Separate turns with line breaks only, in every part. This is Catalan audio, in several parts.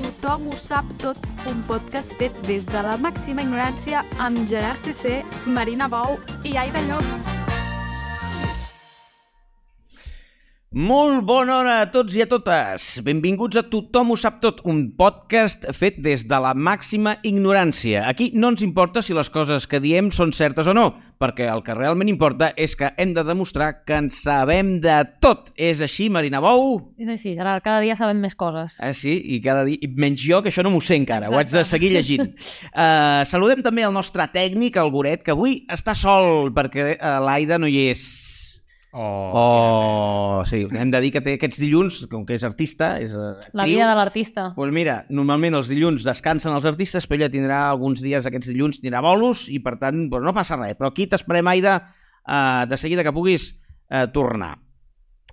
Tothom ho sap tot, un podcast fet des de la màxima ignorància amb Gerard CC, Marina Bou i Aida Llop.
Molt bona hora a tots i a totes. Benvinguts a Tothom ho sap tot, un podcast fet des de la màxima ignorància. Aquí no ens importa si les coses que diem són certes o no, perquè el que realment importa és que hem de demostrar que en sabem de tot. És així, Marina Bou?
És així, Gerard, cada dia sabem més coses.
Ah, sí? I cada dia... i Menys jo, que això no m'ho sé encara. Ho haig de seguir llegint. Uh, saludem també el nostre tècnic, el Goret, que avui està sol perquè eh, l'Aida no hi és.
Oh.
Oh, sí, hem de dir que té aquests dilluns, com que és artista, és eh, actriu...
La vida de l'artista.
Doncs mira, normalment els dilluns descansen els artistes, però ella tindrà alguns dies aquests dilluns, tindrà bolos, i per tant, doncs no passa res. Però aquí t'esperem, Aida, eh, de seguida que puguis eh, tornar.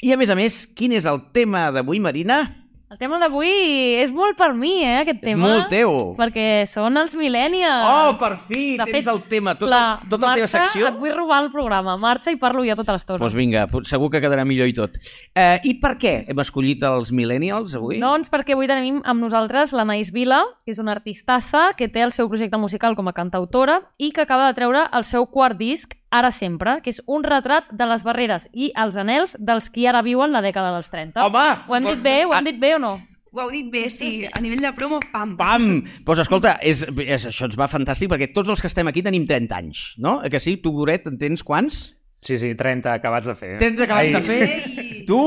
I a més a més, quin és el tema d'avui, Marina?
El tema d'avui és molt per mi, eh, aquest
És
tema.
molt teu.
Perquè són els millennials.
Oh, per fi,
De
tens
fet,
el tema, tot, la, tota la teva
Marxa,
secció.
et vull robar el programa. Marxa i parlo jo tota l'estona.
Doncs vinga, pot- segur que quedarà millor i tot. Eh, I per què hem escollit els millennials avui?
Doncs perquè avui tenim amb nosaltres la Naís Vila, que és una artistassa que té el seu projecte musical com a cantautora i que acaba de treure el seu quart disc, Ara Sempre, que és un retrat de les barreres i els anels dels qui ara viuen la dècada dels 30.
Home! Ah,
Ho hem dit bé? Ho hem dit bé o no?
Ho heu dit bé, sí. A nivell de promo, pam.
Pam! Doncs pues escolta, és, és, això ens va fantàstic perquè tots els que estem aquí tenim 30 anys, no? Eh Que sí? Tu, Goret, en tens quants?
Sí, sí, 30 acabats de fer.
Tens acabats de fer?
Ei!
Tu?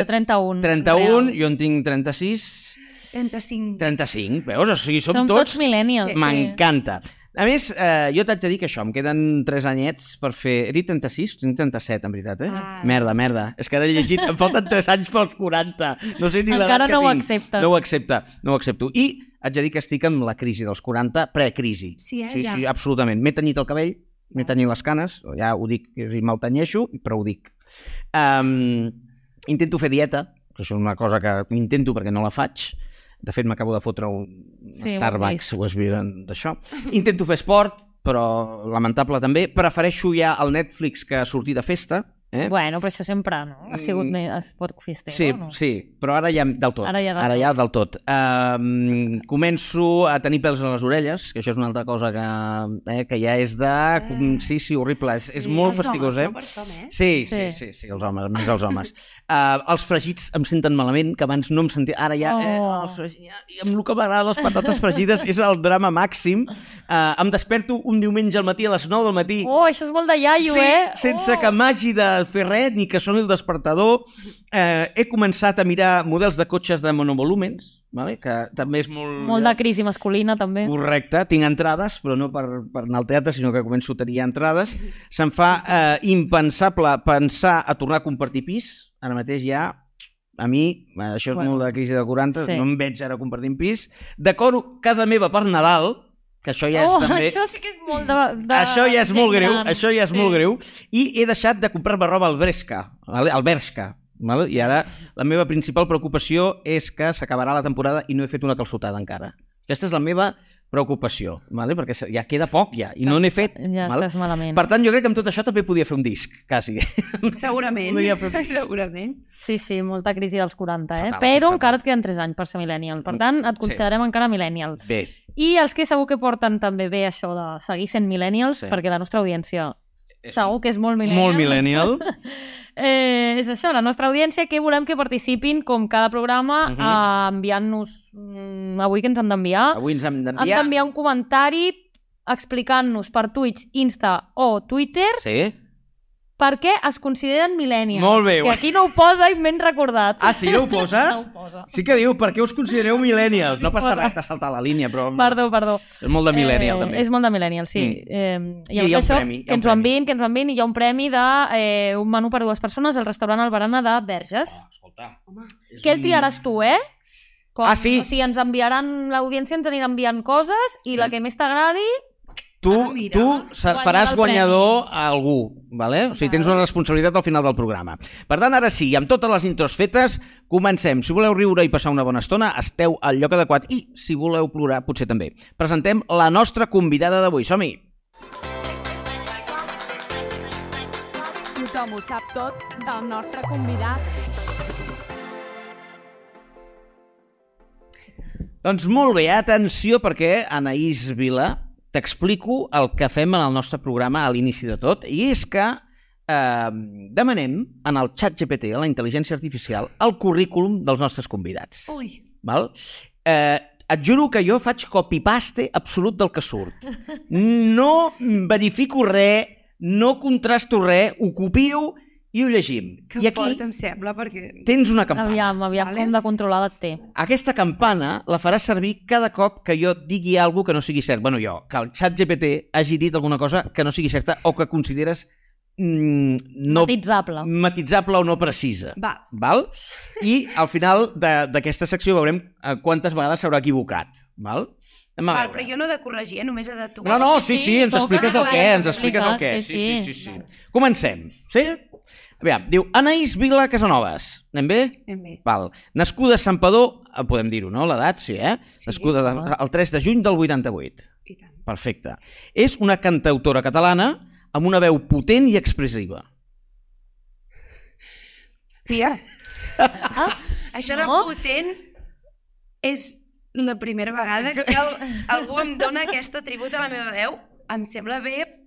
Jo 31.
31, jo en tinc 36,
35.
35, veus? O sigui, som,
Som tots
millennials.
millennials, sí.
M'encanta. A més, eh, jo t'haig de dir que això, em queden 3 anyets per fer... He dit 36? Tinc 37, en veritat, eh?
Ah.
Merda, merda. És que ara he llegit, em falten 3 anys pels 40. No sé ni l'edat
Encara
que
no ho
tinc.
acceptes.
No ho accepta, no ho accepto. I haig de dir que estic amb la crisi dels 40, precrisi.
Sí, eh,
sí,
ja.
sí, absolutament. M'he tenyit el cabell, m'he tenyit les canes, ja ho dic, és a dir, me'l tenyeixo, però ho dic. Um, intento fer dieta, que això és una cosa que intento perquè no la faig. De fet, m'acabo de fotre un
Sí, ho he
Starbucks,
vist.
ho has vist en- d'això. Intento fer esport, però lamentable també. Prefereixo ja el Netflix que sortir de festa. Eh? Mm.
Bueno, però això sempre, no? Ha sigut més... Es pot fisteu,
Sí,
no?
sí, però ara ja del tot.
Ara ja del
ara
tot.
ja del tot. Um, començo a tenir pèls a les orelles, que això és una altra cosa que, eh, que ja és de... mm,
Eh,
Sí, sí, horrible. És, és molt
els
fastigós,
homes,
eh?
no per com, eh?
Sí, sí,
Sí.
sí, sí, els homes, més els homes. Uh, els fregits em senten malament, que abans no em sentia... Ara ja, eh,
Oh.
els fregits, ja, i amb el que m'agraden les patates fregides és el drama màxim. Uh, em desperto un diumenge al matí a les 9 del matí
Oh, això és molt de iaio,
sí,
eh?
sense
oh.
que m'hagi de fer res ni que soni el despertador. Eh, he començat a mirar models de cotxes de monovolúmens, vale? que també és molt...
Molt de crisi masculina,
Oh,
també.
Correcte, tinc entrades, però no per, per anar al teatre, sinó que començo a tenir ja entrades. Se'm fa eh, impensable pensar a tornar a compartir pis. Ara mateix ja, a mi, eh, això és
Bueno.
molt de crisi de 40,
Sí.
no em veig ara compartint pis. Decoro casa meva per Nadal, que això ja és
oh,
també...
això sí que és molt de... de
Això ja és
gent
molt greu,
gran.
això ja és
Sí.
molt greu. I he deixat de comprar-me roba al Bresca, vale? al Bershka. Vale? I ara la meva principal preocupació és que s'acabarà la temporada i no he fet una calçotada encara. Aquesta és la meva preocupació, vale? perquè se- ja queda poc ja, i no n'he fet.
Ja
vale?
estàs malament.
Per tant, jo crec que amb tot això també podia fer un disc, quasi.
Segurament.
Podria fer-
Segurament.
Sí, sí, molta crisi dels 40, eh?
Fatal,
Però
fatal.
encara et queden 3 anys per ser millennial. Per tant, et considerem encara millennial.
Bé,
I els que segur que porten també bé això de seguir sent millennials,
Sí.
perquè la nostra audiència
És
segur que és molt millennial.
eh, molt millennial.
Eh, és això, la nostra audiència, que volem que participin com cada programa uh
Mhm.
-huh. enviant-nos... mm, Avui que ens han d'enviar.
Avui ens hem
Han
d'enviar...
d'enviar un comentari explicant-nos per Twitch, Insta o Twitter
Sí?
per què es consideren millennials.
Molt bé.
Que aquí no ho posa i m'he recordat.
Ah, sí, no ho posa?
No ho posa.
Sí que diu, per què us considereu millennials? No passa res de saltar la línia, però
Perdó, perdó.
és molt de millennial,
eh,
també.
És molt de millennial, sí.
Mm.
Mm. Eh,
I hi ha un
això,
premi, hi ha
que
un
ens ho
premi.
enviïn, que ens ho enviïn, i hi ha un premi de eh, un menú per dues persones al restaurant Albarana de Verges.
Ah, escolta,
Home.
és
Què el
un-
triaràs tu, eh? Quan,
Ah, sí?
O sigui, ens enviaran, l'audiència ens anirà enviant coses i
Sí.
la que més t'agradi
tu,
Ah, mira.
tu se-
Guanyarà
faràs
el
guanyador a algú, vale? o sigui, tens una responsabilitat al final del programa. Per tant, ara sí, amb totes les intros fetes, comencem. Si voleu riure i passar una bona estona, esteu al lloc adequat i, si voleu plorar, potser també. Presentem la nostra convidada d'avui. Som-hi!
Tothom ho sap tot del nostre convidat.
Doncs molt bé, atenció, perquè Anaïs Vila, t'explico el que fem en el nostre programa a l'inici de tot, i és que eh, demanem en el xat GPT, a la intel·ligència artificial, el currículum dels nostres convidats.
Ui,
Val? Eh, et juro que jo faig copy-paste absolut del que surt. No verifico res, no contrasto res, ho copio i ho llegim.
que
I
fort
aquí
em sembla, perquè...
tens una campana.
Aviam, aviam,
Vale.
vale. com de controlada et té.
Aquesta campana la farà servir cada cop que jo digui alguna que no sigui cert. Bueno, jo, que el xat GPT hagi dit alguna cosa que no sigui certa o que consideres mm, no
Matitzable.
matitzable o no precisa.
Va,
Val? I al final de- d'aquesta secció veurem eh, quantes vegades s'haurà equivocat. Val? Anem a
va,
veure.
Ah, però jo no he de corregir, eh? només he de tocar.
No, no, sí, sí, ens
toca,
expliques el
toca,
què, ens
ens
expliques el què.
expliques, sí,
sí, sí, sí. Comencem, sí? Aviam, diu Anaïs Vila Casanovas. Anem bé?
Anem Eh, bé.
Val. Nascuda a Santpedor, eh, podem dir-ho, no? L'edat, sí, eh?
Sí.
Nascuda de, el 3 de juny del 88.
I tant.
Perfecte. És una cantautora catalana amb una veu potent i expressiva.
Tia,
Ah,
això de
No?
potent és la primera vegada que el, algú em dona aquest atribut a la meva veu. Em sembla bé,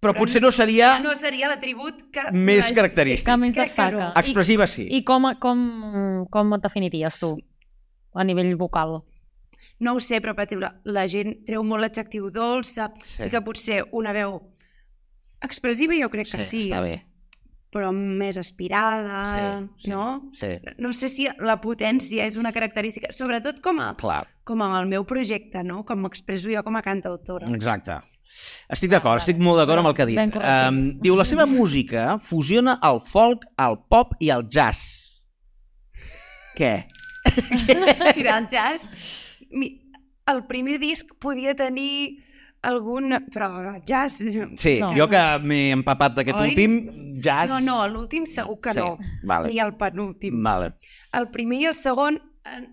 Però potser no seria...
no seria l'atribut que...
Més
la-
característic.
que més
crec que no.
destaca.
Expressiva,
I,
sí.
I com, com, com et definiries tu a nivell vocal?
No ho sé, però per exemple, la gent treu molt l'adjectiu dolça, sí. sí que potser una veu expressiva jo crec que sí,
està bé.
però més aspirada,
Sí, sí,
no?
Sí,
No sé si la potència és una característica, sobretot com a,
clar.
com a el meu projecte, no? Com m'expresso jo com a cantautora.
Exacte. Estic
Ah,
d'acord, estic molt d'acord amb el que ha dit.
Ben correcte.
Um, diu, la seva música fusiona el folk, el pop i el jazz. Què?
Mira, el jazz... Mi, el primer disc podia tenir algun... Però el jazz...
Sí, no.
No.
jo que m'he empapat d'aquest
Oi?
últim, jazz...
No, no, l'últim segur que
Sí,
no.
vale. Mm.
Ni el penúltim.
Vale,
El primer i el segon... eh,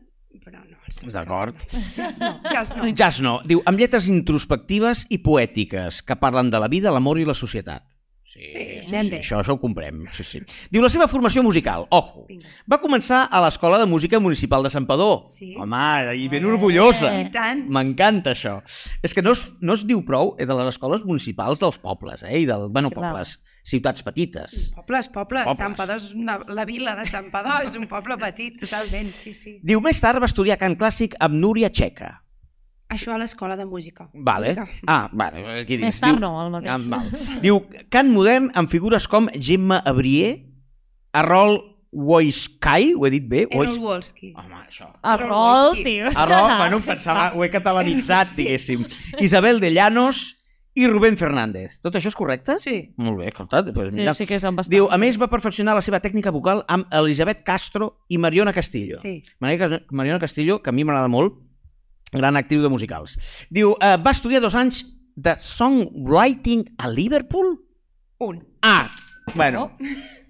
Però no, el segon.
d'acord.
Jazz no, jazz no.
Jazz no. Diu, amb lletres introspectives i poètiques que parlen de la vida, l'amor i la societat. Sí,
anem bé.
això, això ho comprem. Sí, sí. Diu, la seva formació musical, ojo,
Vinga.
va començar a l'Escola de Música Municipal de Santpedor.
Sí. Eh.
Home, i ben orgullosa.
I tant.
M'encanta això. És que no es, no es diu prou eh, de les escoles municipals dels pobles, eh? I del, bueno,
Clar.
pobles, ciutats petites.
Pobles, pobles.
Pobles.
pobles. Sant Padó és una, la vila de Sant Padó és un poble petit, totalment, sí, sí.
Diu, més tard va estudiar cant clàssic amb Núria Checa.
Això a l'escola de música.
Vale.
Vinga.
Ah, vale, aquí dins.
Més tard no, el mateix.
Ah, val. Diu, cant modern amb figures com Gemma Abrier, Arrol Woiskai, ho he dit bé?
Errol Wolski.
Home, això.
Arrol, tio.
Arrol, bueno, em pensava, ho he catalanitzat, diguéssim. Isabel de Llanos i Rubén Fernández. Tot això és correcte?
Sí.
Molt bé, escolta, doncs
Sí,
mira.
sí que és bastant.
Diu, a més, va perfeccionar la seva tècnica vocal amb Elisabet Castro i Mariona Castillo.
Sí.
Mariona Mariona Castillo, que a mi m'agrada molt, gran actriu de musicals. Diu, eh, va estudiar dos anys de songwriting a Liverpool?
Un.
Ah, bueno,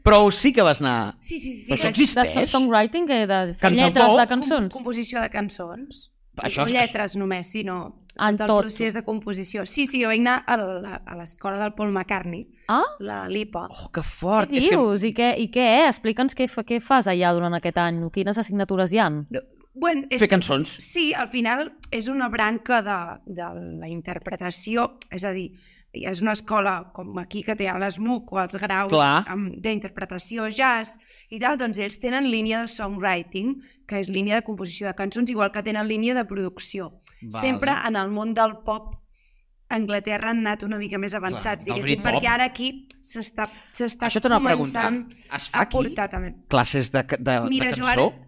però sí que vas anar...
Sí, sí, sí.
Però això
vaig-
existeix?
De songwriting, que de fer
Cantautor.
lletres de cançons.
Composició de cançons.
Això
Això
és-
Lletres només, sí, no.
En
del
tot.
procés de composició. Sí, sí, jo vaig anar a la- a l'escola del Paul McCartney,
Ah,
la LIPA.
Oh, que
què
fort! És que...
dius? I què, i què? Explica'ns què, fa- què fas allà durant aquest any, quines assignatures hi han.
No, Bueno, és,
Fer cançons.
Doncs Sí, al final és una branca de, de la interpretació, és a dir, és una escola com aquí que té a les MUC o els graus
Clar.
amb- d'interpretació jazz i tal, doncs ells tenen línia de songwriting, que és línia de composició de cançons, igual que tenen línia de producció.
Vale.
Sempre en el món del pop a Anglaterra han anat una mica més avançats,
del
diguéssim,
Britpop.
perquè ara aquí s'està s'està
Això t'anava a preguntar.
començant
Es fa
a
aquí?
portar també.
Classes de, ca- Ah, de,
Mira,
de
jo
cançó?
ara,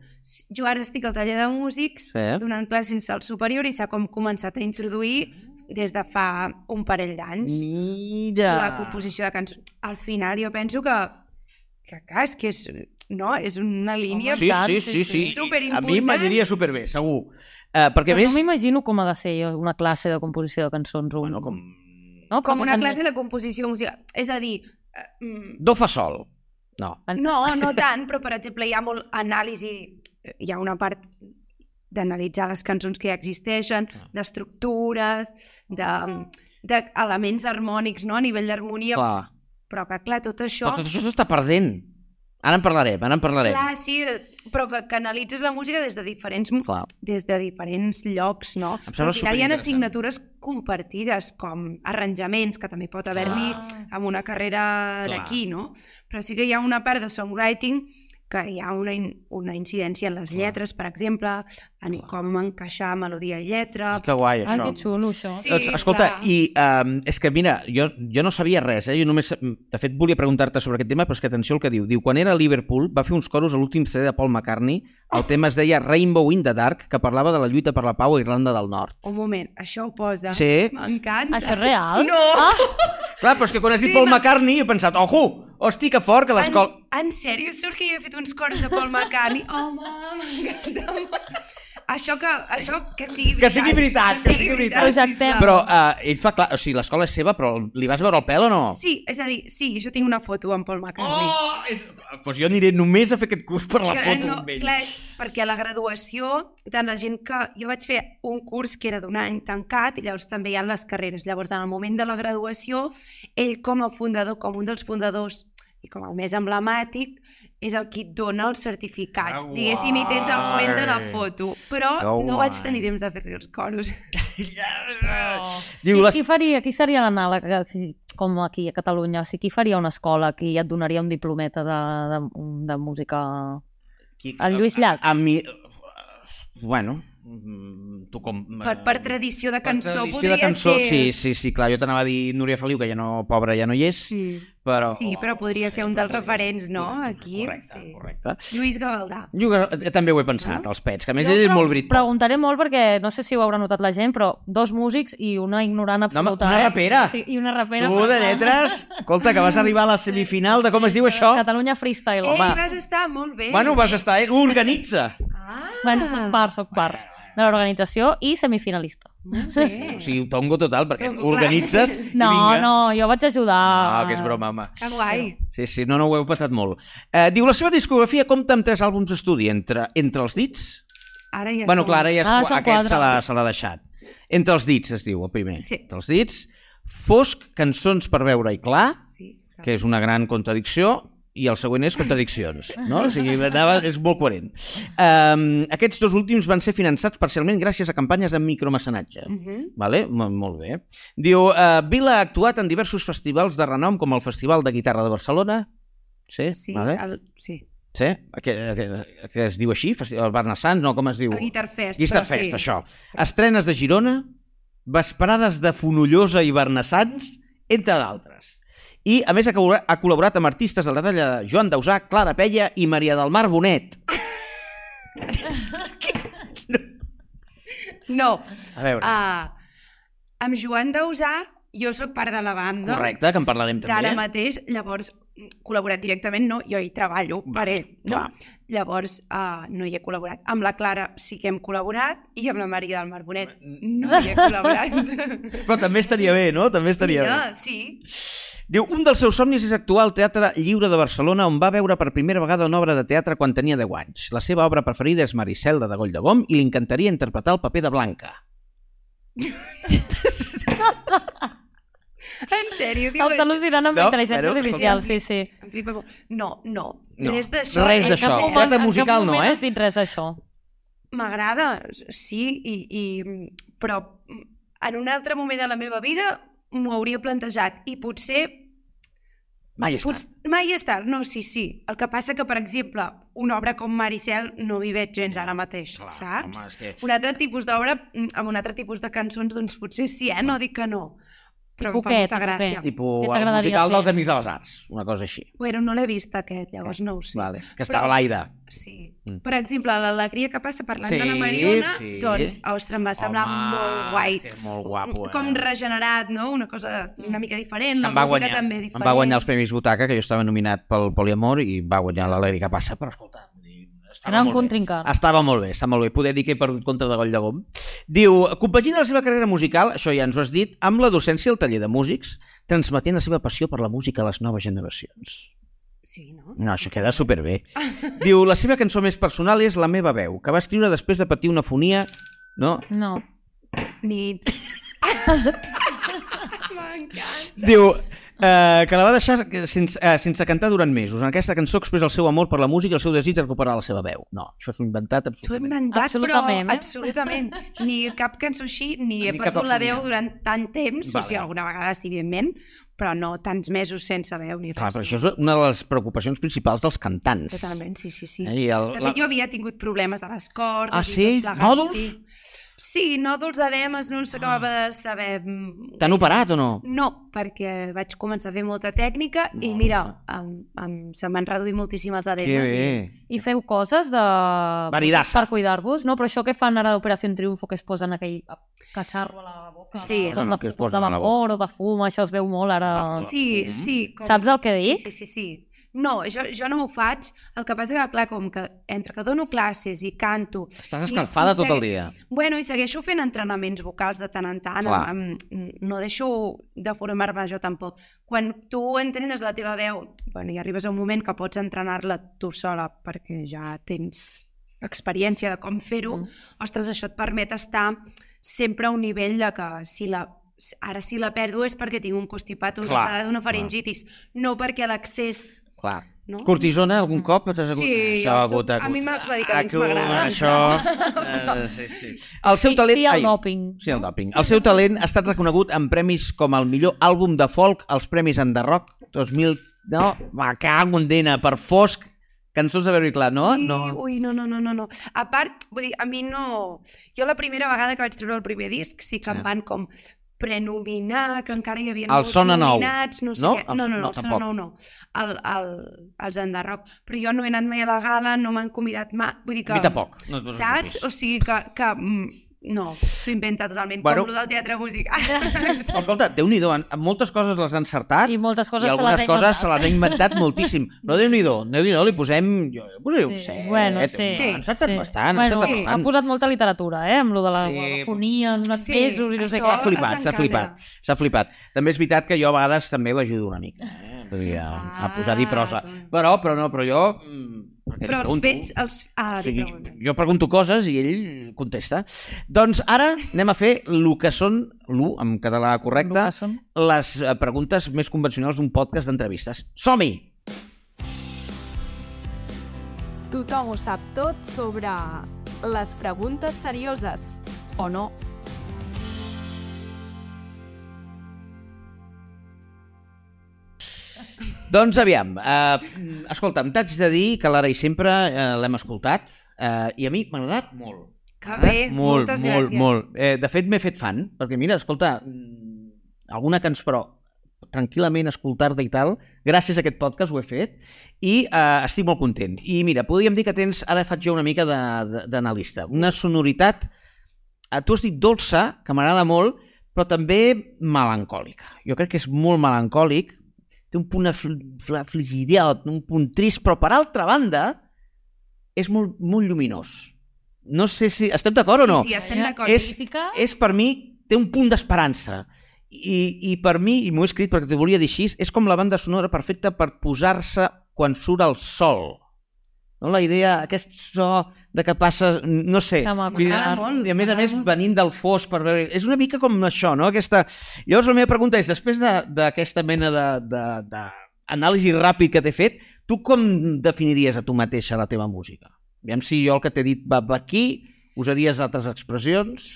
jo ara estic al taller de músics
Sí.
sí. donant classes al superior i s'ha com començat a introduir des de fa un parell d'anys
Mira!
la composició de cançons. Al final jo penso que, que clar, és que és, no? és una línia...
Sí, sí,
tant,
sí,
sí,
sí. I A mi
sí. Superimportant.
m'aniria superbé, segur. Uh, perquè a
Però no
més...
m'imagino com ha de ser una classe de composició de cançons. Un...
Bueno, com
No? Però
Com una
més
classe de composició musical. És a dir, eh, mm,
Do fa sol. No.
En-
no, no tant, però per exemple hi ha molt anàlisi, hi ha una part d'analitzar les cançons que ja existeixen,
Ah.
d'estructures, d'elements harmònics no? a nivell d'harmonia,
Clar.
però que clar, tot això...
Però tot això s'està perdent. Ara en parlarem, ara en parlarem.
Clar, sí, eh, però que, que analitzes la música des de diferents
Clar.
des de diferents llocs, no?
Em sembla
Al final hi ha
superinteressant.
assignatures compartides, com arranjaments, que també pot haver-n'hi amb una carrera
Clar.
d'aquí, no? Però sí que hi ha una part de songwriting que hi ha una, in una incidència en les lletres, per exemple, en com encaixar melodia i lletra...
Que guai,
Ah,
això.
que xulo, això.
Sí.
Doncs, escolta,
clar.
i um, és que mira, jo, jo no sabia res, eh? jo només, de fet volia preguntar-te sobre aquest tema, però és que atenció al que diu. Diu, quan era a Liverpool va fer uns coros a l'últim CD de Paul McCartney, el tema es deia Rainbow in the Dark, que parlava de la lluita per la pau a Irlanda del Nord.
Un moment, això ho posa.
Sí.
M'encanta.
Això és real?
No!
Ah,
Clar, però és que quan has dit
Sí,
Paul
ma-
McCartney he pensat, ojo, hosti, que fort, que l'escola...
En, en sèrio, surt que jo he fet uns cors de Paul McCartney? Home, m'encanta molt. Això que, això que sigui veritat.
Que sigui veritat, que sigui veritat.
Projectem.
Però uh, ell fa clar, o sigui, l'escola és seva, però li vas veure el pèl o no?
Sí, és a dir, sí, jo tinc una foto amb Paul McCartney.
Oh, és... pues jo aniré només a fer aquest curs per la
Que-
foto amb ell.
eh, clar, perquè a la graduació, tant la gent que... Jo vaig fer un curs que era d'un any tancat i llavors també hi ha les carreres. Llavors, en el moment de la graduació, ell com a fundador, com un dels fundadors i com el més emblemàtic, és el qui et dona el certificat.
Que guai.
Diguéssim, i tens el moment de la foto. Però
Que
no vaig
guai.
tenir temps de fer-li els coros.
Diu,
Oh.
qui,
les...
qui, faria, qui seria l'anàleg aquí- com aquí a Catalunya? O sigui, qui faria una escola que ja et donaria un diplometa de, de, de música...
Qui...
El Lluís Llach.
A, a mi... eh, Bueno, mm, tu com...
Per, per tradició de cançó,
per tradició
podria
de cançó,
ser...
Sí, sí, sí, clar, jo t'anava a dir Núria Feliu, que ja no, pobra, ja no hi és,
sí.
però...
Sí, però podria ser un dels referents, no? Aquí,
Correcte,
sí.
correcte.
Lluís Gavaldà.
Jo eh, també ho he pensat, els pets, que a més
Jo
ell és
pre-
molt brit.
Preguntaré molt perquè no sé si ho haurà notat la gent, però dos músics i una ignorant
home,
absoluta.
una rapera.
Eh? Sí, I una rapera.
Tu, de lletres, escolta, que vas arribar a la semifinal de com es diu això?
Catalunya Freestyle.
Ell
Home.
vas estar molt bé.
Bueno, vas estar, eh? Organitza!
Ah,
Bueno, soc part, soc part de l'organització i semifinalista.
bé.
O sigui, tongo total, perquè
Tongo, clar.
organitzes i
No,
vinga.
no, jo vaig ajudar.
Ah, que és broma, home.
Que guai.
Sí, sí, no, no ho heu passat molt. Eh, diu, la seva discografia compta amb tres àlbums d'estudi, entre, entre els dits...
Ara ja
bueno,
som-
clar, ara ja és,
Ah,
ah,
són
aquest
quatre.
se l'ha se l'ha deixat. Entre els dits, es diu, el primer.
Sí.
Entre els dits, Fosc, Cançons per veure i clar,
Sí, exacte.
que és una gran contradicció, i el següent és Contradiccions, no? O sigui, anava, és molt coherent. Um, aquests dos últims van ser finançats parcialment gràcies a campanyes de micromecenatge.
Mhm.
Vale? mo- Molt bé. Diu, uh, Vila ha actuat en diversos festivals de renom, com el Festival de Guitarra de Barcelona, sí,
Sí,
vale? el...
el, sí.
sí? Que, que, que es diu així, Festi- el Barna Sants, no, com es diu?
El Guitar Fest.
Guitar
però
Fest,
sí.
això. Estrenes de Girona, vesprades de Fonollosa i Bernassans, entre d'altres. I, a més, ha col- ha col·laborat amb artistes de la talla de Joan Dausà, Clara Pella i Maria del Mar Bonet.
No,
A veure,
uh, amb Joan Dausà, jo sóc part de la banda.
correcte, que en parlarem
D'ara
també.
doncs, mateix, llavors, col·laborat directament, no, jo hi treballo per ell, no?
clar.
Llavors, uh, no hi he col·laborat. Amb la Clara sí que hem col·laborat i amb la Maria del Mar Bonet no hi he col·laborat.
Però també estaria bé, no? També estaria bé.
Mira, sí.
Diu, un dels seus somnis és actuar al Teatre Lliure de Barcelona, on va veure per primera vegada una obra de teatre quan tenia 10 anys. La seva obra preferida és Maricelda de Goll de Gom i li encantaria interpretar el paper de Blanca.
En sèrio, diu
Estàs al·lucinant amb
No,
no, intel·ligència
però-
artificial, eh, sí, sí.
Em flipa molt. No, no,
No,
no. Res d'això.
res
Eh,
d'això.
que-
Teatre musical no,
En cap
eh?
moment has dit res d'això.
M'agrada, sí, i, i, però en un altre moment de la meva vida m'ho hauria plantejat i potser,
Mai ha estat.
potser mai és tard, no, sí, sí. El que passa que, per exemple, una obra com Maricel no m'hi veig gens ara mateix,
Clar,
saps?
home, és que-
Un altre tipus d'obra, mm, amb un altre tipus de cançons, doncs potser sí, eh? No dic que no. Però em fa
Poquet,
molta gràcia.
poquet.
tipus
Què
el
t'agradaria
musical
fer?
dels Amics de les Arts, una cosa així.
Bueno, no l'he vist aquest,
Eh,
llavors no ho sé.
Vale. Que estava a l'aire.
Sí. Mm. Per exemple, l'alegria que passa parlant
Sí,
de la Mariona,
sí.
sí. doncs, ostres, em va semblar
Home,
molt guai.
que molt guapo, eh?
Com regenerat, no? Una cosa una mica diferent, la
Em va,
música
guanyar,
també
em
diferent.
va guanyar els Premis Butaca, que jo estava nominat pel Poliamor, i va guanyar l'Alegria que passa, però escolta, vull dir, estava
Era un
Ah, molt bé.
contrincant.
Estava molt bé, estava molt bé. Poder dir que he perdut contra de Goll de Gom. Diu, compagina la seva carrera musical, això ja ens ho has dit, amb la docència al taller de músics, transmetent la seva passió per la música a les noves generacions.
Sí, no?
No, això queda superbé. Diu, la seva cançó més personal és La meva veu, que va escriure després de patir una fonia... No?
No.
Ni... M'encanta.
Diu eh, que la va deixar sense, eh, sense cantar durant mesos. En aquesta cançó expressa el seu amor per la música i el seu desig de recuperar la seva veu. No, això s'ho ha inventat
T'ho he
absolutament.
inventat,
Absolutament,
absolutament,
eh?
però absolutament. Ni cap cançó així, ni he
Ni cap
perdut la
òptima.
veu durant tant temps,
Vale.
o sigui, alguna vegada sí, evidentment, però no tants mesos sense veu ni
Clar,
res.
però això és una de les preocupacions principals dels cantants.
Totalment, sí, sí, sí.
Eh, i el,
De
la...
fet, jo havia tingut problemes a les cordes
Ah, sí?
i tot plegat.
Nòduls? Ah.
Sí. sí, nòduls, edemes, no s'acabava de saber... mm,
T'han operat o no?
No, perquè vaig començar a fer molta tècnica i mira, em, em, se m'han reduït moltíssim els
Que
edemes.
bé.
I feu coses de...
Maridassa.
per cuidar-vos, no? Però això que fan ara d'Operació Triunfo, que es posen aquell catxarro a la boca,
Sí.
de,
No, no,
de,
que es
de,
posen a la
vapor o de fum, això es veu molt ara...
Ah,
Sí,
Mm.
sí. Com...
Saps el que dic?
Sí, sí, sí. No, jo, jo no m'ho faig. El que passa que, clar, com que entre que dono classes i canto...
Estàs
i-
escalfada
i
tot el
segue-
dia.
Bueno, i segueixo fent entrenaments vocals de tant en tant.
Clar.
Em, em, no deixo de formar-me jo tampoc. Quan tu entrenes la teva veu, bueno, i arribes a un moment que pots entrenar-la tu sola perquè ja tens experiència de com fer-ho,
Mm.
ostres, això et permet estar sempre a un nivell de que si la, ara si la perdo és perquè tinc un constipat, una
Clar,
enfadada, una
clar.
faringitis, no perquè l'accés...
Clar.
No?
Cortisona, algun cop? T'has hagut...
Mm.
això,
Sí, jo
ha
soc-
hagut, ha
a mi
hagut-
els medicaments
Ah, tu,
m'agraden.
Això... Eh, sí, sí. El seu
Sí,
talent...
sí, el
ai,
doping.
Sí, el doping. El seu talent ha estat reconegut en premis com el millor àlbum de folk als Premis Enderroc 2000... No, va, cago en dena, per fosc. Cançons de Very Clar, no?
Ui,
Oh, No.
Ui, no, no, no, no, no. A part, vull dir, a mi no... Jo la primera vegada que vaig treure el primer disc sí que
Sí.
em van com prenominar, que encara hi havia
El Sona Nou,
nominats, no sé
no?
què.
El-
No, no,
no,
no, el Sona
tampoc.
Nou no. El, el, els Enderroc. Però jo no he anat mai a la gala, no m'han convidat mai. Vull dir
A
que...
mi tampoc. No, et
Saps? O sigui que... que mm, no, s'ho inventa totalment,
Bueno.
bueno. com el del teatre musical.
Però escolta, Déu-n'hi-do, en- en moltes coses les ha encertat
I moltes
i
coses se les
algunes
ha
coses se
inventat.
les ha inventat moltíssim. Però Déu-n'hi-do, Déu-n'hi-do, li posem... Jo, jo posaria un
Sí,
set.
bueno, sí.
Ha eh, encertat
sí.
bastant, ha
bueno,
encertat
Ha
bastant.
posat molta literatura, eh? Amb lo de la
Sí.
sí. fonia, en els
Sí,
sí. mesos i no sé
això-
què.
S'ha flipat,
Els
s'ha
encasa.
flipat, s'ha flipat. També és veritat que jo a vegades també l'ajudo una mica, eh? Vull dir, a,
Ah,
a posar-hi prosa.
doncs.
Però, però no, però jo... mm, Perquè
Però
li
els
pregunto.
fets... Els... Ah,
O
sí.
sigui, jo pregunto coses i ell contesta. Doncs ara anem a fer el que són, l'u en català correcte,
Lo que són.
les eh, preguntes més convencionals d'un podcast d'entrevistes. Som-hi!
Tothom ho sap tot sobre les preguntes serioses, o no?
Doncs aviam, eh, escolta'm, t'haig de dir que l'ara i sempre eh, l'hem escoltat eh, i a mi m'ha agradat molt.
Que bé,
Eh? molt,
moltes
molt,
gràcies.
Molt. Eh, de fet, m'he fet fan, perquè mira, escolta, mm, alguna cançó, però tranquil·lament escoltar-te i tal, gràcies a aquest podcast ho he fet, i eh, estic molt content. I mira, podríem dir que tens, ara faig jo una mica de- de- d'analista, una sonoritat, eh, tu has dit dolça, que m'agrada molt, però també melancòlica. Jo crec que és molt melancòlic, té un punt afl- fl- afligidat, un punt trist, però per altra banda és molt, molt lluminós. No sé si... Estem d'acord o no?
Sí, sí,
Eh,
estem d'acord.
És-
Magnífica.
és per mi, té un punt d'esperança. I, I per mi, i m'ho he escrit perquè t'ho volia dir així, és com la banda sonora perfecta per posar-se quan surt el sol. No? La idea, aquest so de que passa, no sé.
Que maco.
Vull dir,
M'agrada
molt,
I a més a
m'agrada
més,
molt.
venint del fosc per veure... És una mica com això, no? Aquesta... Llavors la meva pregunta és, després de- d'aquesta de, mena d'anàlisi de, de, d'anàlisi ràpid que t'he fet, tu com definiries a tu mateixa la teva música? Aviam si jo el que t'he dit va va aquí, usaries altres expressions...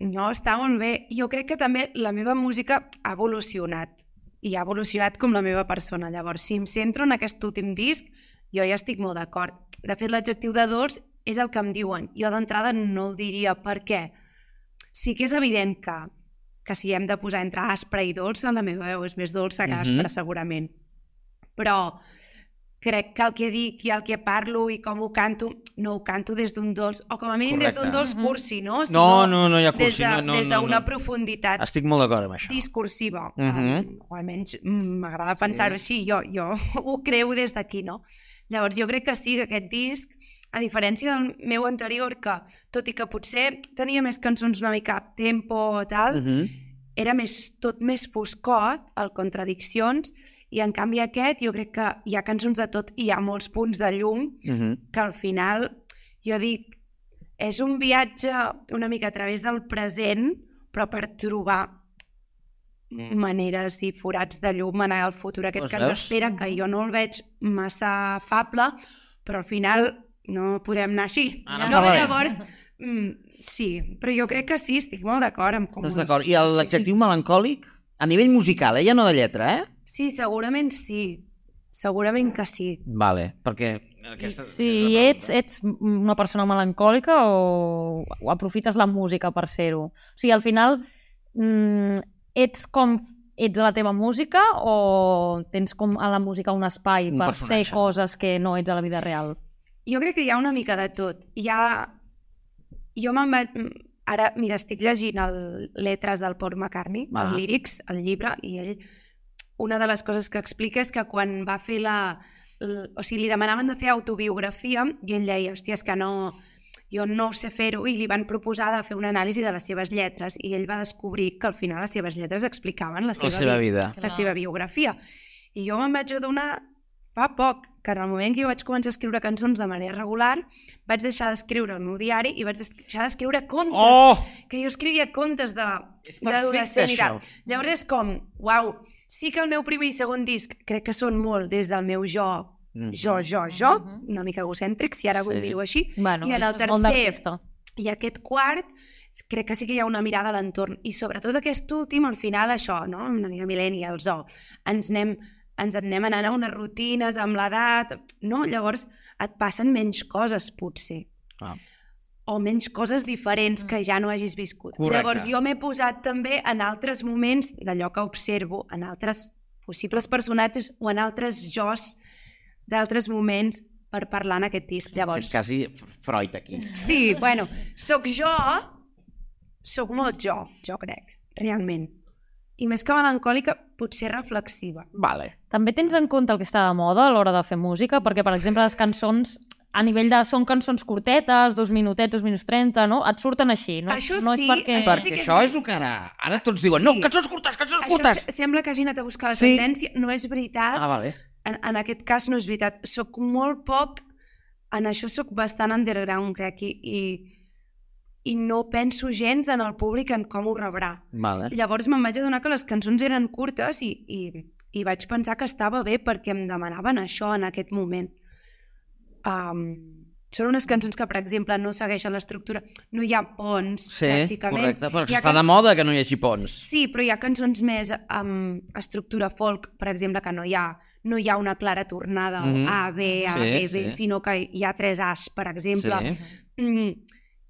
No, està molt bé. Jo crec que també la meva música ha evolucionat i ha evolucionat com la meva persona. Llavors, si em centro en aquest últim disc, jo ja estic molt d'acord. De fet, l'adjectiu de dolç és el que em diuen. Jo d'entrada no el diria. Per què? Sí que és evident que, que si hem de posar entre aspre i dolça, la meva veu és més dolça que
Mhm.
aspra, segurament. Però crec que el que dic i el que parlo i com ho canto, no ho canto des d'un dolç, o com a mínim des d'un
Correcte.
dolç cursi, no?
No, no, no hi ha
des
cursi.
de-
no, no,
des
no,
d'una
no.
profunditat
Estic molt d'acord amb això.
discursiva.
Mhm.
Um, o almenys mm, m'agrada pensar-ho així, jo, jo ho creu des d'aquí, no? Llavors jo crec que sí, que aquest disc a diferència del meu anterior, que tot i que potser tenia més cançons una mica a tempo tal,
Uh -huh.
era més, tot més foscot, el Contradiccions, i en canvi aquest jo crec que hi ha cançons de tot i hi ha molts punts de llum
Uh -huh.
que al final, jo dic, és un viatge una mica a través del present, però per trobar maneres i forats de llum en el futur aquest
Doncs
que ens
Mm. veus?
espera, que jo no el veig massa afable, però al final no podem anar així.
Ara en
no,
parlarem.
llavors, mm, sí, però jo crec que sí, estic molt d'acord amb com
Estàs
ho
d'acord?
has-
I el- l'adjectiu melancòlic? A nivell musical, eh? Ja no de lletra, eh?
Sí, segurament sí. Segurament que sí.
Vale, perquè... Aquesta,
Sí, ets, ets una persona melancòlica o, o aprofites la música per ser-ho? O sigui, al final mm, ets com ets a la teva música o tens com a la música un espai
Un
per
personatge.
ser coses que no ets a la vida real?
Jo crec que hi ha una mica de tot. Hi ha... Jo me'n vaig... Ara, mira, estic llegint el Letres del Paul McCartney, ah.
Ah.
el Lyrics, el llibre, i ell... Una de les coses que explica és que quan va fer la... l- O sigui, li demanaven de fer autobiografia i ell deia, hòstia, és que no... Jo no ho sé fer-ho, i li van proposar de fer una anàlisi de les seves lletres, i ell va descobrir que al final les seves lletres explicaven la
La
seva,
seva vida.
la seva biografia. I jo me'n vaig adonar fa poc, que en el moment que jo vaig començar a escriure cançons de manera regular, vaig deixar d'escriure el meu diari i vaig deixar d'escriure contes.
Oh!
Que jo escrivia contes de
perfecte,
d'adolescent i tal.
això.
Llavors és com, uau, sí que el meu primer i segon disc crec que són molt des del meu jo,
Mhm.
jo, jo, jo, una mica egocèntric, si ara vull dir-ho així.
Bueno,
I en
això
el
és molt
tercer,
d'artista.
i aquest quart, crec que sí que hi ha una mirada a l'entorn. I sobretot aquest últim, al final, això, no? una mica millennials o ens anem, ens en anem anant a unes rutines amb l'edat, no? Llavors et passen menys coses, potser.
Ah.
O menys coses diferents que ja no hagis viscut.
Correcte.
Llavors jo m'he posat també en altres moments d'allò que observo, en altres possibles personatges o en altres jos d'altres moments per parlar en aquest disc. Llavors,
Llavors... Quasi Freud aquí.
Sí, bueno, sóc jo, sóc molt jo, jo crec, realment. I més que melancòlica, potser reflexiva.
Vale.
També tens en compte el que està de moda a l'hora de fer música? Perquè, per exemple, les cançons a nivell de... Són cançons cortetes, dos minutets, dos minuts trenta, no? Et surten així. No és,
Això
no és
sí,
perquè...
Això
Perquè
sí que és
això
ver-
és el que ara... Ara tots diuen,
Sí.
no, cançons curtes, cançons
Això
curtes!
se- sembla que hagi anat a buscar la
Sí.
sentència, no és veritat.
Ah, vale.
en, en aquest cas no és veritat. Soc molt poc... En això sóc bastant underground, crec, i, i, i no penso gens en el públic en com ho rebrà.
Vale.
Llavors me'n vaig adonar que les cançons eren curtes i, i, i vaig pensar que estava bé perquè em demanaven això en aquest moment. Um, són unes cançons que, per exemple, no segueixen l'estructura. No hi ha ponts,
Sí,
pràcticament.
correcte,
Hi
perquè
ha
està de moda que no hi hagi ponts.
Sí, però hi ha cançons més amb estructura folk, per exemple, que no hi ha, no hi ha una clara tornada mm
Mhm.
-hmm. A, B, A,
Sí,
B, B,
sí.
sinó que hi ha tres As, per exemple.
Sí.
Mm.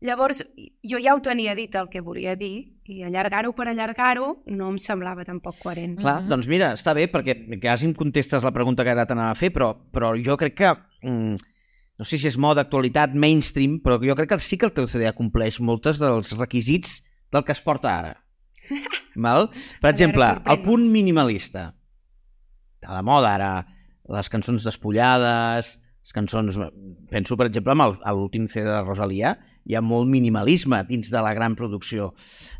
Llavors, jo ja ho tenia dit el que volia dir, i allargar-ho per allargar-ho no em semblava tampoc coherent.
Clar, doncs mira, està bé perquè quasi em contestes la pregunta que ara t'anava a fer, però, però jo crec que... Mm, no sé si és moda, actualitat, mainstream, però jo crec que sí que el teu CD compleix moltes dels requisits del que es porta ara. Val? Per
veure,
exemple, el
sorprèn-me.
punt minimalista. Està de moda ara les cançons despullades, les cançons... Penso, per exemple, amb el- a l'últim CD de Rosalia, hi ha molt minimalisme dins de la gran producció.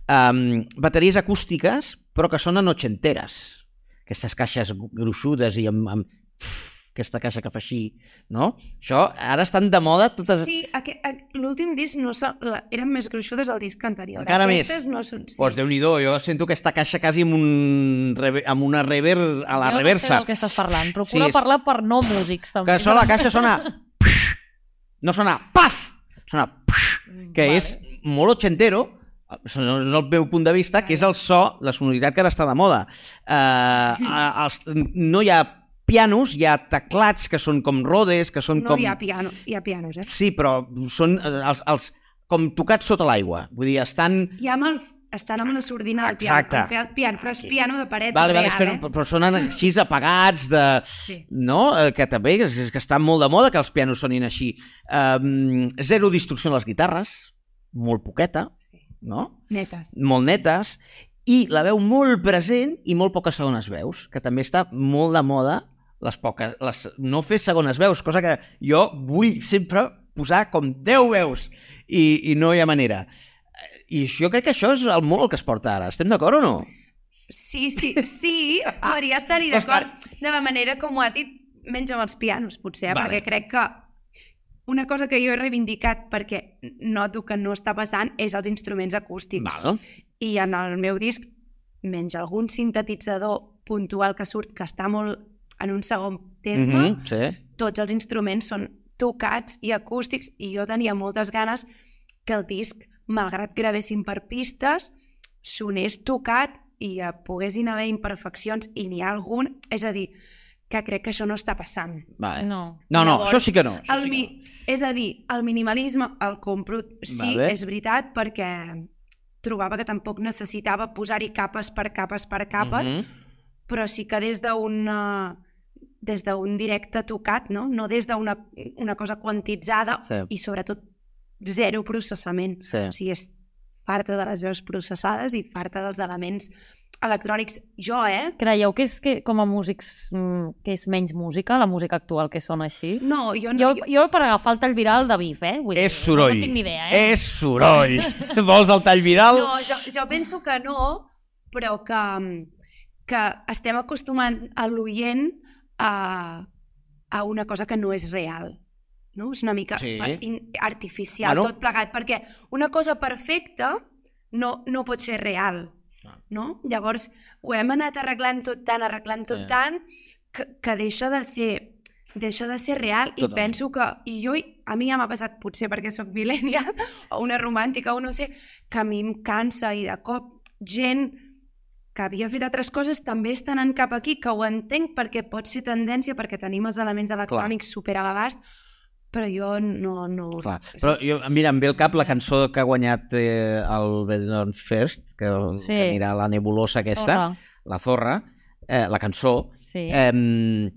Um, bateries acústiques, però que sonen ochenteres. Aquestes caixes gruixudes i amb... amb pff, aquesta caixa que fa així, no? Això, ara estan de moda totes...
Sí, aquest, a- l'últim disc no so, la, eren més gruixudes el disc anterior.
Encara més.
Aquestes no són... Sí.
Pues Déu-n'hi-do, jo sento aquesta caixa quasi amb, un rever, amb una rever a la
jo
reversa.
No sé del que estàs parlant. Procura
és-
sí, parlar per no músics, també.
Que això la caixa sona... No sona paf! Sona paf! Que
Mm, Vale.
és molt ochentero, segons el meu punt de vista, que és el so, la sonoritat que ara està de moda. Eh, a- els, no hi ha pianos, hi ha teclats que són com rodes, que són
no
com...
hi ha piano, hi ha pianos, eh?
Sí, però són eh, els, els com tocats sota l'aigua. Vull dir, estan...
Hi ha amb el, estan amb la sordina del piano,
Exacte.
amb el piano, però és piano de paret
Vale, vale,
real,
espero,
eh?
però, però sonen així apagats de... Sí. No? Eh, Que també és, és que està molt de moda que els pianos sonin així. Um, zero distorsió en les guitarres, molt poqueta,
Sí.
no?
Netes.
Molt netes, i la veu molt present i molt poques segones veus, que també està molt de moda les poques, les, no fer segones veus, cosa que jo vull sempre posar com 10 veus i, i no hi ha manera. I jo crec que això és el molt el que es porta ara. Estem d'acord o no?
Sí, sí, sí, podria estar-hi
doncs
d'acord de la manera com ho has dit, menys amb els pianos, potser,
Vale.
vale. perquè crec que una cosa que jo he reivindicat perquè noto que no està passant és els instruments acústics.
Val.
I en el meu disc, menys algun sintetitzador puntual que surt, que està molt en un segon terme, mm
Mhm, sí.
-hmm. tots els instruments són tocats i acústics i jo tenia moltes ganes que el disc, malgrat gravessin per pistes, sonés tocat i eh, poguessin haver imperfeccions i n'hi ha algun, és a dir, que crec que això no està passant.
Vale. No. No, no,
No.
Llavors,
això sí que no. Això
El
sí
mi...
que no.
És a dir, el minimalisme el compro, sí,
Vale.
és veritat, perquè trobava que tampoc necessitava posar-hi capes per capes per capes, mm -hmm.
Mhm.
però sí que des d'un eh, des d'un directe tocat, no? No des d'una una cosa quantitzada
Sí.
i sobretot zero processament.
Sí.
O sigui, és farta de les veus processades i farta dels elements electrònics. Jo, eh?
Creieu que és que, com a músics mm, que és menys música, la música actual que sona així?
No, jo no.
Jo, jo per agafar el tall viral de Bif, eh? Vull dir,
És soroll.
No tinc ni idea, eh?
És soroll. Vols el tall viral?
No, jo, jo penso que no, però que, mm, que estem acostumant a l'oient a, a una cosa que no és real. No? És una mica
Sí.
per- in- artificial,
Bueno.
bueno. tot plegat, perquè una cosa perfecta no, no pot ser real.
Ah.
No? Llavors, ho hem anat arreglant tot tant, arreglant tot
Sí.
sí. tant, que, que deixa de ser deixa de ser real i
Totalment.
penso que i jo, a mi ja m'ha passat potser perquè sóc millennial o una romàntica o no sé, que a mi em cansa i de cop gent que havia fet altres coses també estan anant cap aquí, que ho entenc perquè pot ser tendència, perquè tenim els elements electrònics super a l'abast, però jo no... no...
Clar. Però jo, mira, em ve al cap la cançó que ha guanyat eh, el Benidorm First, que, sí.
Sí.
que anirà a la nebulosa aquesta,
Torra.
la zorra, eh, la cançó.
Sí. Eh,
Eh,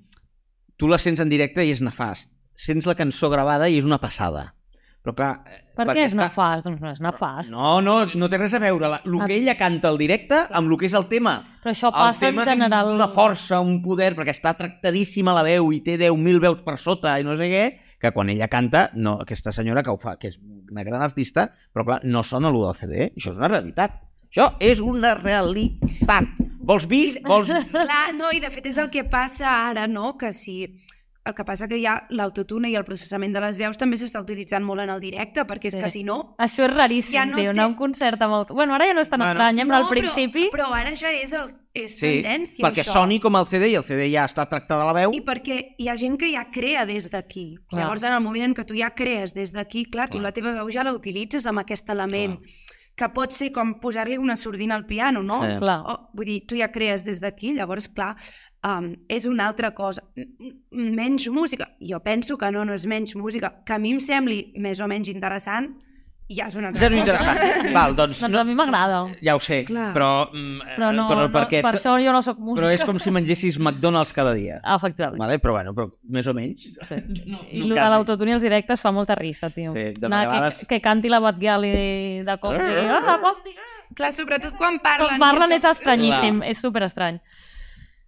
tu la sents en directe i és nefast. Sents la cançó gravada i és una passada. Però clar... eh,
per
perquè
què és nefast? Ah. Doncs no és nefast.
No, no, no té res a veure. La, el que ella canta al directe amb el que és el tema.
Però això
El
passa en
tema
general...
té una força, un poder, perquè està tractadíssima la veu i té 10.000 veus per sota i no sé què, que quan ella canta, no, aquesta senyora que ho fa, que és una gran artista, però clar, no sona allò del CD, això és una realitat. Això és una realitat. Vols vi? Vols...
Clar, no, i de fet és el que passa ara, no? Que si... El que passa que ja l'autotune i el processament de les veus també s'està utilitzant molt en el directe, perquè sí.
Sí.
és que si no...
Això és raríssim,
Ja
ja
no
no tio,
té-
anar a un concert amb el... Bueno, ara ja no és tan
Bueno.
bueno, estrany, eh, però
no,
al principi...
Però, però ara ja és, el, és
Sí,
tendència,
perquè
això.
soni com el CD i el CD ja està tractada la veu.
I perquè hi ha gent que ja crea des d'aquí.
Clar.
Llavors, en el moment en què tu ja crees des d'aquí, clar, tu la teva veu ja la utilitzes amb aquest element, que pot ser com posar-li una sordina al piano, no?
Sí.
Clar.
O, vull dir, tu ja crees des d'aquí, llavors, clar, um, és una altra cosa. M- m- Menys música. Jo penso que no, no és menys música. Que a mi em sembli més o menys interessant, ja és una altra
Zero
cosa.
interessant. Val, doncs...
Doncs
No,
a mi m'agrada.
ja ho sé,
Clar.
però... mm, eh,
Però no,
però,
no,
perquè,
per això jo no sóc música.
però és com si mengessis McDonald's cada dia.
Efectivament.
Vale? Però bueno, però més o menys. eh, No,
I lo de l'autotune als directes fa molta risa, tio.
Sí, de
Anar
vegades-
que, que canti la Batgirl i de cop... I... Ah, com,
Clar, sobretot quan parlen...
quan parlen
i
és estranyíssim, és superestrany.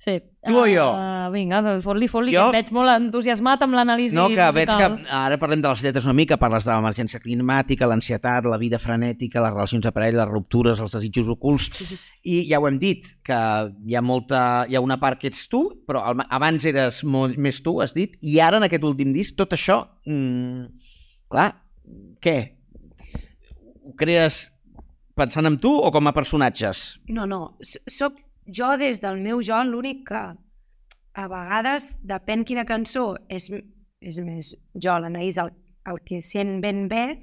Sí.
Tu o jo?
Ah, vinga, doncs fot-li, fot-li,
Jo-
jo... que et veig molt entusiasmat amb l'anàlisi
No, que
musical.
veig que ara parlem de les lletres una mica, parles de l'emergència climàtica, l'ansietat, la vida frenètica, les relacions de parella, les ruptures, els desitjos ocults, i ja ho hem dit, que hi ha, molta, hi ha una part que ets tu, però al- abans eres molt més tu, has dit, i ara en aquest últim disc, tot això, mm, clar, què? Ho crees pensant en tu o com a personatges?
No, no, s- sóc jo des del meu jo l'únic que a vegades, depèn quina cançó, és, m- és més jo, l'Anaïs, el, el que sent ben bé,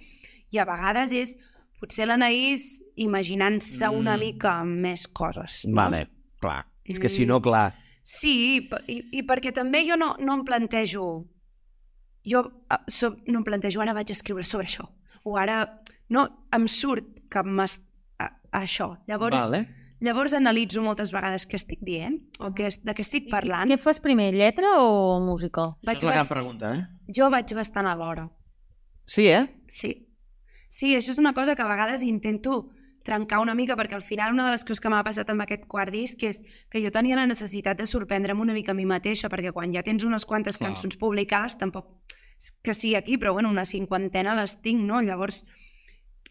i a vegades és potser l'Anaïs imaginant-se mm. una mica més coses. no?
Vale, clar. És que si no, clar...
Sí, i, pe- i, i perquè també jo no, no em plantejo... Jo eh, so, no em plantejo, ara vaig escriure sobre això. O ara... No, em surt que m'es... a- Això. Llavors,
Vale.
Llavors analitzo moltes vegades què estic dient o què, es- de què estic parlant.
Què fas primer, lletra o música?
Vaig
És una gran
bast...
pregunta, eh?
Jo vaig bastant a l'hora,
Sí, eh?
sí. Sí, això és una cosa que a vegades intento trencar una mica, perquè al final una de les coses que m'ha passat amb aquest quart disc és que jo tenia la necessitat de sorprendre'm una mica a mi mateixa, perquè quan ja tens unes quantes
Clar.
cançons publicades tampoc que sí aquí, però bueno, una cinquantena les tinc, no? Llavors,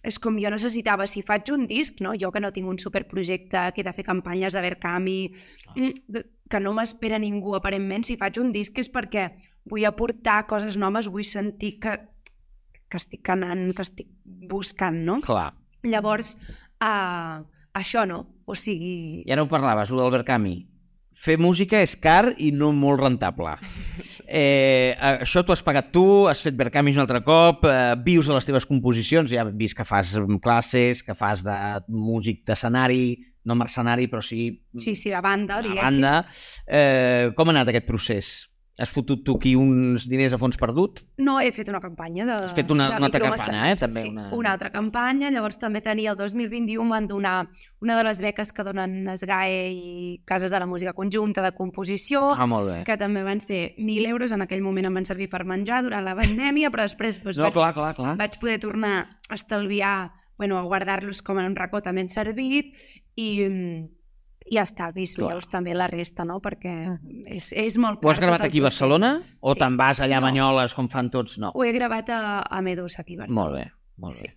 és com jo necessitava, si faig un disc, no? jo que no tinc un superprojecte, que he de fer campanyes de Verkami, mm, que no m'espera ningú, aparentment, si faig un disc és perquè vull aportar coses noves, vull sentir que, que estic anant, que estic buscant, no?
Clar.
Llavors, uh, això no, o sigui...
I ara ho parlaves, ho d'Albert Camus. Fer música és car i no molt rentable. Eh, això t'ho has pagat tu, has fet Berkami un altre cop, eh, vius de les teves composicions, ja hem vist que fas mm, classes, que fas de músic d'escenari, no mercenari, però sí,
Sí, sí, de banda,
a
diguéssim.
banda. Eh, com ha anat aquest procés? Has fotut tu aquí uns diners a fons perdut?
No, he fet una campanya de...
Has fet una-
de
una altra
micromecenatge,
campanya, eh, també,
Sí, una...
una-
una altra campanya. Llavors també tenia el 2021 van donar una de les beques que donen SGAE i Cases de la Música Conjunta de Composició,
Ah, molt bé.
que també van ser 1.000 euros. En aquell moment em van servir per menjar durant la pandèmia, però després doncs,
No,
vaig,
clar, clar, clar.
vaig poder tornar a estalviar, bueno, a guardar-los com en un racó també han servit i... mm, i ja està, vis
Clar. Mm.
meus també la resta, no? Perquè és, és molt car.
Ho has
tot
gravat
el
aquí a
procés.
Barcelona? O
Sí.
te'n vas allà a
No.
Banyoles, com fan tots? No.
Ho he gravat a, a Medus, aquí a Barcelona.
Molt bé, molt bé.
Sí.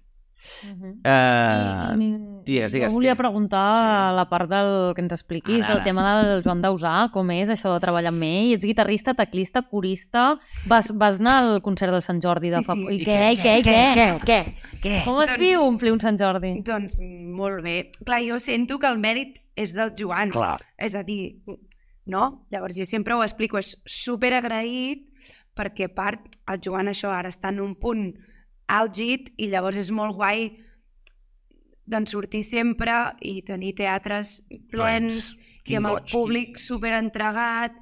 Mhm.
Eh,
I- i-
digues, digues,
Jo volia
digues.
preguntar
Sí.
la part del que ens expliquis,
Ara,
el
ara.
tema del Joan Dausà, com és això de treballar amb ell. Ets guitarrista, teclista, corista... Vas, vas anar al concert del Sant Jordi de
Sí,
fa...
sí.
I què, i què, i què?
què, què?
Com es
Doncs-
viu omplir un Sant Jordi?
Doncs molt bé. Clar, jo sento que el mèrit és del Joan.
Clar.
És a dir, no? Llavors jo sempre ho explico, és superagraït perquè a part el Joan això ara està en un punt àlgid i llavors és molt guai doncs sortir sempre i tenir teatres
Plens.
plens i amb el
Quin goig.
públic superentregat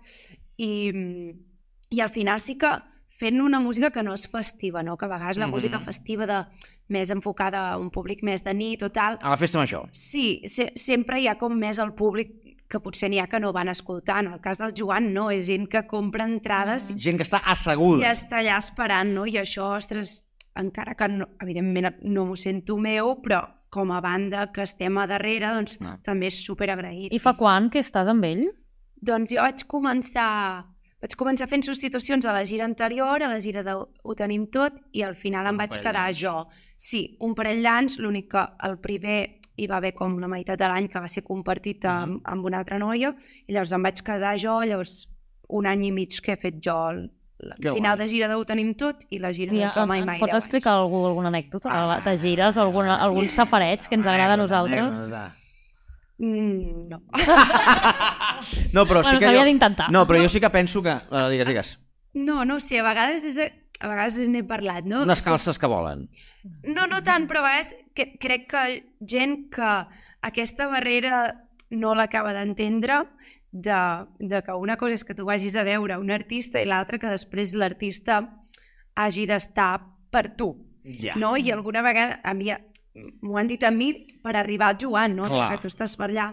i, i al final sí que fent una música que no és festiva, no? que a vegades la
Mhm.
música festiva de, més enfocada a un públic més de nit o tal,
A la festa major.
Sí, se sempre hi ha com més el públic que potser n'hi ha que no van escoltar. En el cas del Joan, no, és gent que compra entrades mm.
Gent que està
i
asseguda.
està allà esperant, no? I això, ostres, encara que no, evidentment no m'ho sento meu, però com a banda que estem a darrere, doncs
Ah.
també és superagraït.
I fa quan que estàs amb ell?
Doncs jo vaig començar, vaig començar fent substitucions a la gira anterior, a la gira de Ho tenim tot, i al final
Un
em vaig
parell
quedar
d'anys.
jo. Sí, un parell d'anys, l'únic que el primer hi va haver com la meitat de l'any que va ser compartit amb, amb una altra noia, i llavors em vaig quedar jo, llavors un any i mig que he fet jo el el
Que
final
guai.
de gira de Ho tenim tot i la gira
I,
de Jo mai
ens
mai Ah.
pots
d'abans.
explicar algú, alguna anècdota? de- De gires, alguna, algun safareig que ens agrada a nosaltres?
Mm, no.
No, però
Bueno,
sí que
s'havia
jo...
d'intentar.
No, però jo sí que penso que... Uh, digues, digues.
no, no sé, a vegades, és de... a vegades n'he parlat, no?
Unes calces que volen.
No, no tant, però a vegades que, crec que gent que aquesta barrera no l'acaba d'entendre de, de que una cosa és que tu vagis a veure un artista i l'altra que després l'artista hagi d'estar per tu,
Ja.
no? I alguna vegada a mi m'ho han dit a mi per arribar al Joan, no?
Clar.
Que tu estàs per allà.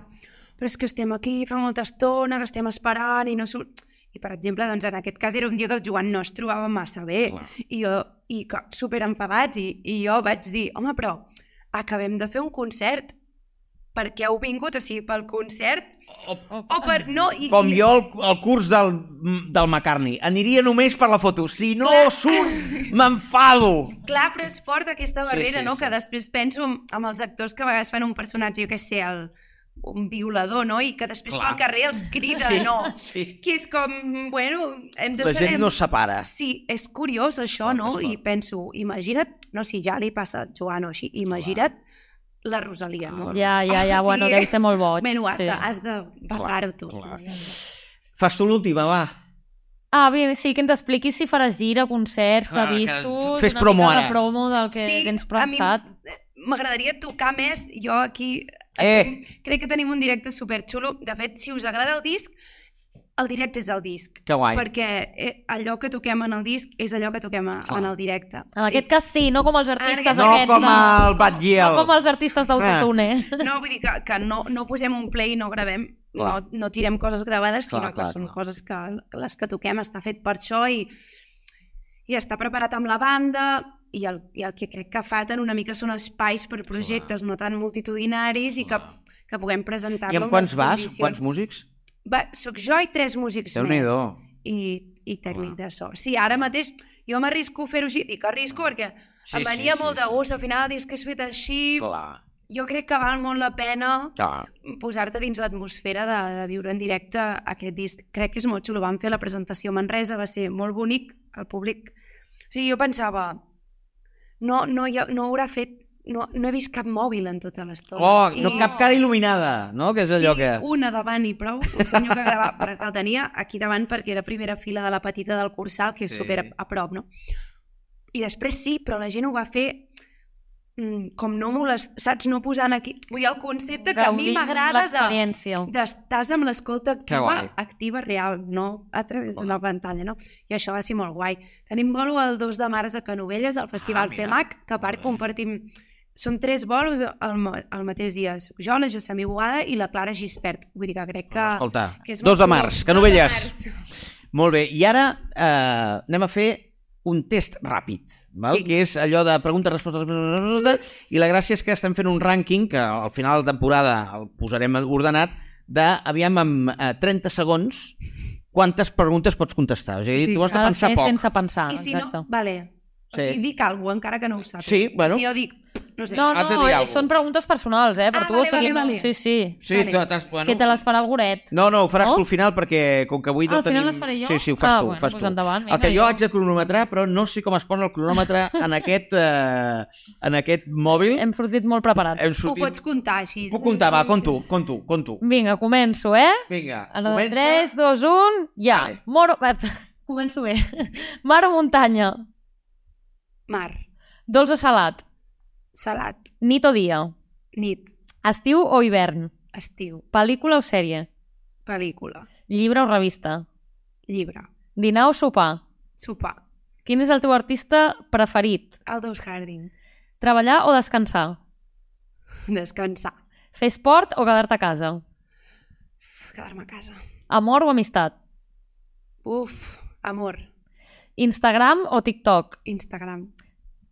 Però és que estem aquí fa molta estona, que estem esperant i no surt... I, per exemple, doncs, en aquest cas era un dia que el Joan no es trobava massa bé
Clar.
i, jo, i que, super enfadats i, i jo vaig dir, home, però acabem de fer un concert per què heu vingut? O sigui, pel concert o, o per... No, i,
Com
i,
jo al, al curs del, del McCartney. Aniria només per la foto. Si no
Clar.
surt, m'enfado.
Clar, però és fort aquesta barrera,
sí,
sí, sí, no?
sí.
Sí. Que després penso en, en els actors que a vegades fan un personatge, jo què sé, el, un violador, no? I que després
Clar.
Clar. pel carrer els crida,
Sí,
sí, no?
sí.
Que és com, bueno, hem de
La
saber...
gent no es separa.
Sí, és curiós això,
Clar,
no?
és clar.
I penso, imagina't, no, si ja li passa a Joan o així, imagina't la Rosalia, no?
Ja, ja, ja,
O
bueno,
sigui,
deu ser molt boig.
Ah, Bueno, has,
sí.
sí. de, has de parlar-ho tu.
clar. Fas tu l'última, va.
Ah, bé, sí, que ens expliquis si faràs gira, concerts,
Clar, que
previstos...
fes
una
promo
mica
ara.
de promo del que,
sí,
que ens
a mi
pensat.
M'agradaria tocar més, jo aquí
Eh,
Crec que tenim un directe superxulo. De fet, si us agrada el disc, el directe és el disc.
que guai.
Perquè eh, allò que toquem en el disc és allò que toquem a, en el directe.
En aquest cas sí, no com els
cas
artistes
No
aquests.
com
de-
el Batgiel.
No com els artistes d'autotune. Ah.
No, vull dir que, que no, no posem un play i no gravem, no,
Clar.
no tirem coses gravades,
Clar,
clar, sinó que
clar,
clar, són
clar.
coses que les que toquem està fet per això i, i està preparat amb la banda i el, i el que crec que falten una mica són espais per projectes no tan multitudinaris i que, que puguem presentar-lo
I amb
les
quants vas?
condicions.
Quants músics?
Va, soc jo i tres músics
déu nhi
més. i, i tècnic de so. Sí, ara mateix Jo m'arrisco a fer-ho així, dic arrisco perquè
Sí,
sí, em
sí,
venia
sí,
sí, molt
sí.
de gust, al final dius que has fet així...
Clar.
Jo crec que val molt la pena
Clar.
posar-te dins l'atmosfera de, de viure en directe aquest disc. Crec que és molt xulo. Vam fer la presentació a Manresa, va ser molt bonic, el públic... O sigui, jo pensava, no, no, hi ha, no haurà fet... No, no he vist cap mòbil en tota l'estona.
Oh,
I-
no, cap cara il·luminada, no? Que és allò
sí,
que...
una davant i prou, un senyor que, grava, però que el tenia aquí davant perquè era primera fila de la petita del Cursal, que és
Sí.
sí. super a prop, no? I després sí, però la gent ho va fer mm, com no molest... Saps? No posant aquí... Vull dir, el concepte que a mi
Gaudint
m'agrada de
L'experiència.
d'estàs amb l'escolta
Que
activa,
guai.
activa real, no a través de la pantalla, no? I això va ser molt guai. Tenim bolo el 2 de març a Canovelles, al
Ah,
Festival ah,
mira.
FEMAC, que a
Molt
part
bé.
compartim... Són tres bolos al, ma- al mateix dia. Soc Jo, la Gessamí Boada i la Clara Gispert. Vull dir que crec que...
Escolta,
Ah, que és
2 de
molt
març,
xulo.
Canovelles.
Dos de març.
Molt bé, i ara eh, anem a fer un test ràpid, val?
Sí.
que és allò de preguntes, respostes... I la gràcia és que estem fent un rànquing, que al final de temporada el posarem ordenat, de, aviam, amb eh, 30 segons, quantes preguntes pots contestar. O sigui,
Sí,
tu has de
ha
pensar
ser
poc.
sense pensar,
Ah, I si
exacte.
no... Vale. O
Sí.
sigui, dic alguna cosa, encara que no ho sàpiga.
Sí, bueno.
Si no dic... No sé.
No,
Has de
no,
dir
eh,
alguna
són preguntes personals, eh? Per
Ah,
tu,
vale,
o sigui,
vale,
no-
vale.
Sí, sí.
Sí,
Vale.
tu t'has... Bueno,
Que te les farà el goret.
No, no, ho faràs
No?
tu al final perquè com que avui
Ah,
no
al final
tenim...
les faré jo?
Sí, sí, ho fas
Ah,
tu.
bueno,
fas tu.
doncs endavant,
el que
vinga,
jo
jo.
haig de cronometrar, però no sé com es posa el cronòmetre en aquest, eh, en aquest mòbil.
Hm?
Hem,
Hem sortit molt preparats.
Ho
sortit...
pots comptar així.
Puc comptar, va, conto, conto, conto.
Vinga, començo, eh?
Vinga,
A la de
comença.
3, 2, 1, ja.
Vale.
Moro... eh, Començo bé. Mar o muntanya?
Mar,
Dolç o salat?
salat,
Nit o dia?
nit,
Estiu o hivern?
estiu,
Pel·lícula o sèrie?
pel·lícula,
Llibre o revista?
llibre,
Dinar o sopar?
sopar,
Quin és el teu artista preferit?
Aldous Harding,
Treballar o descansar?
descansar,
Fer esport o quedar-te a casa?
quedar-me a casa.
Amor o amistat?
Uf, amor,
Instagram o TikTok?
Instagram.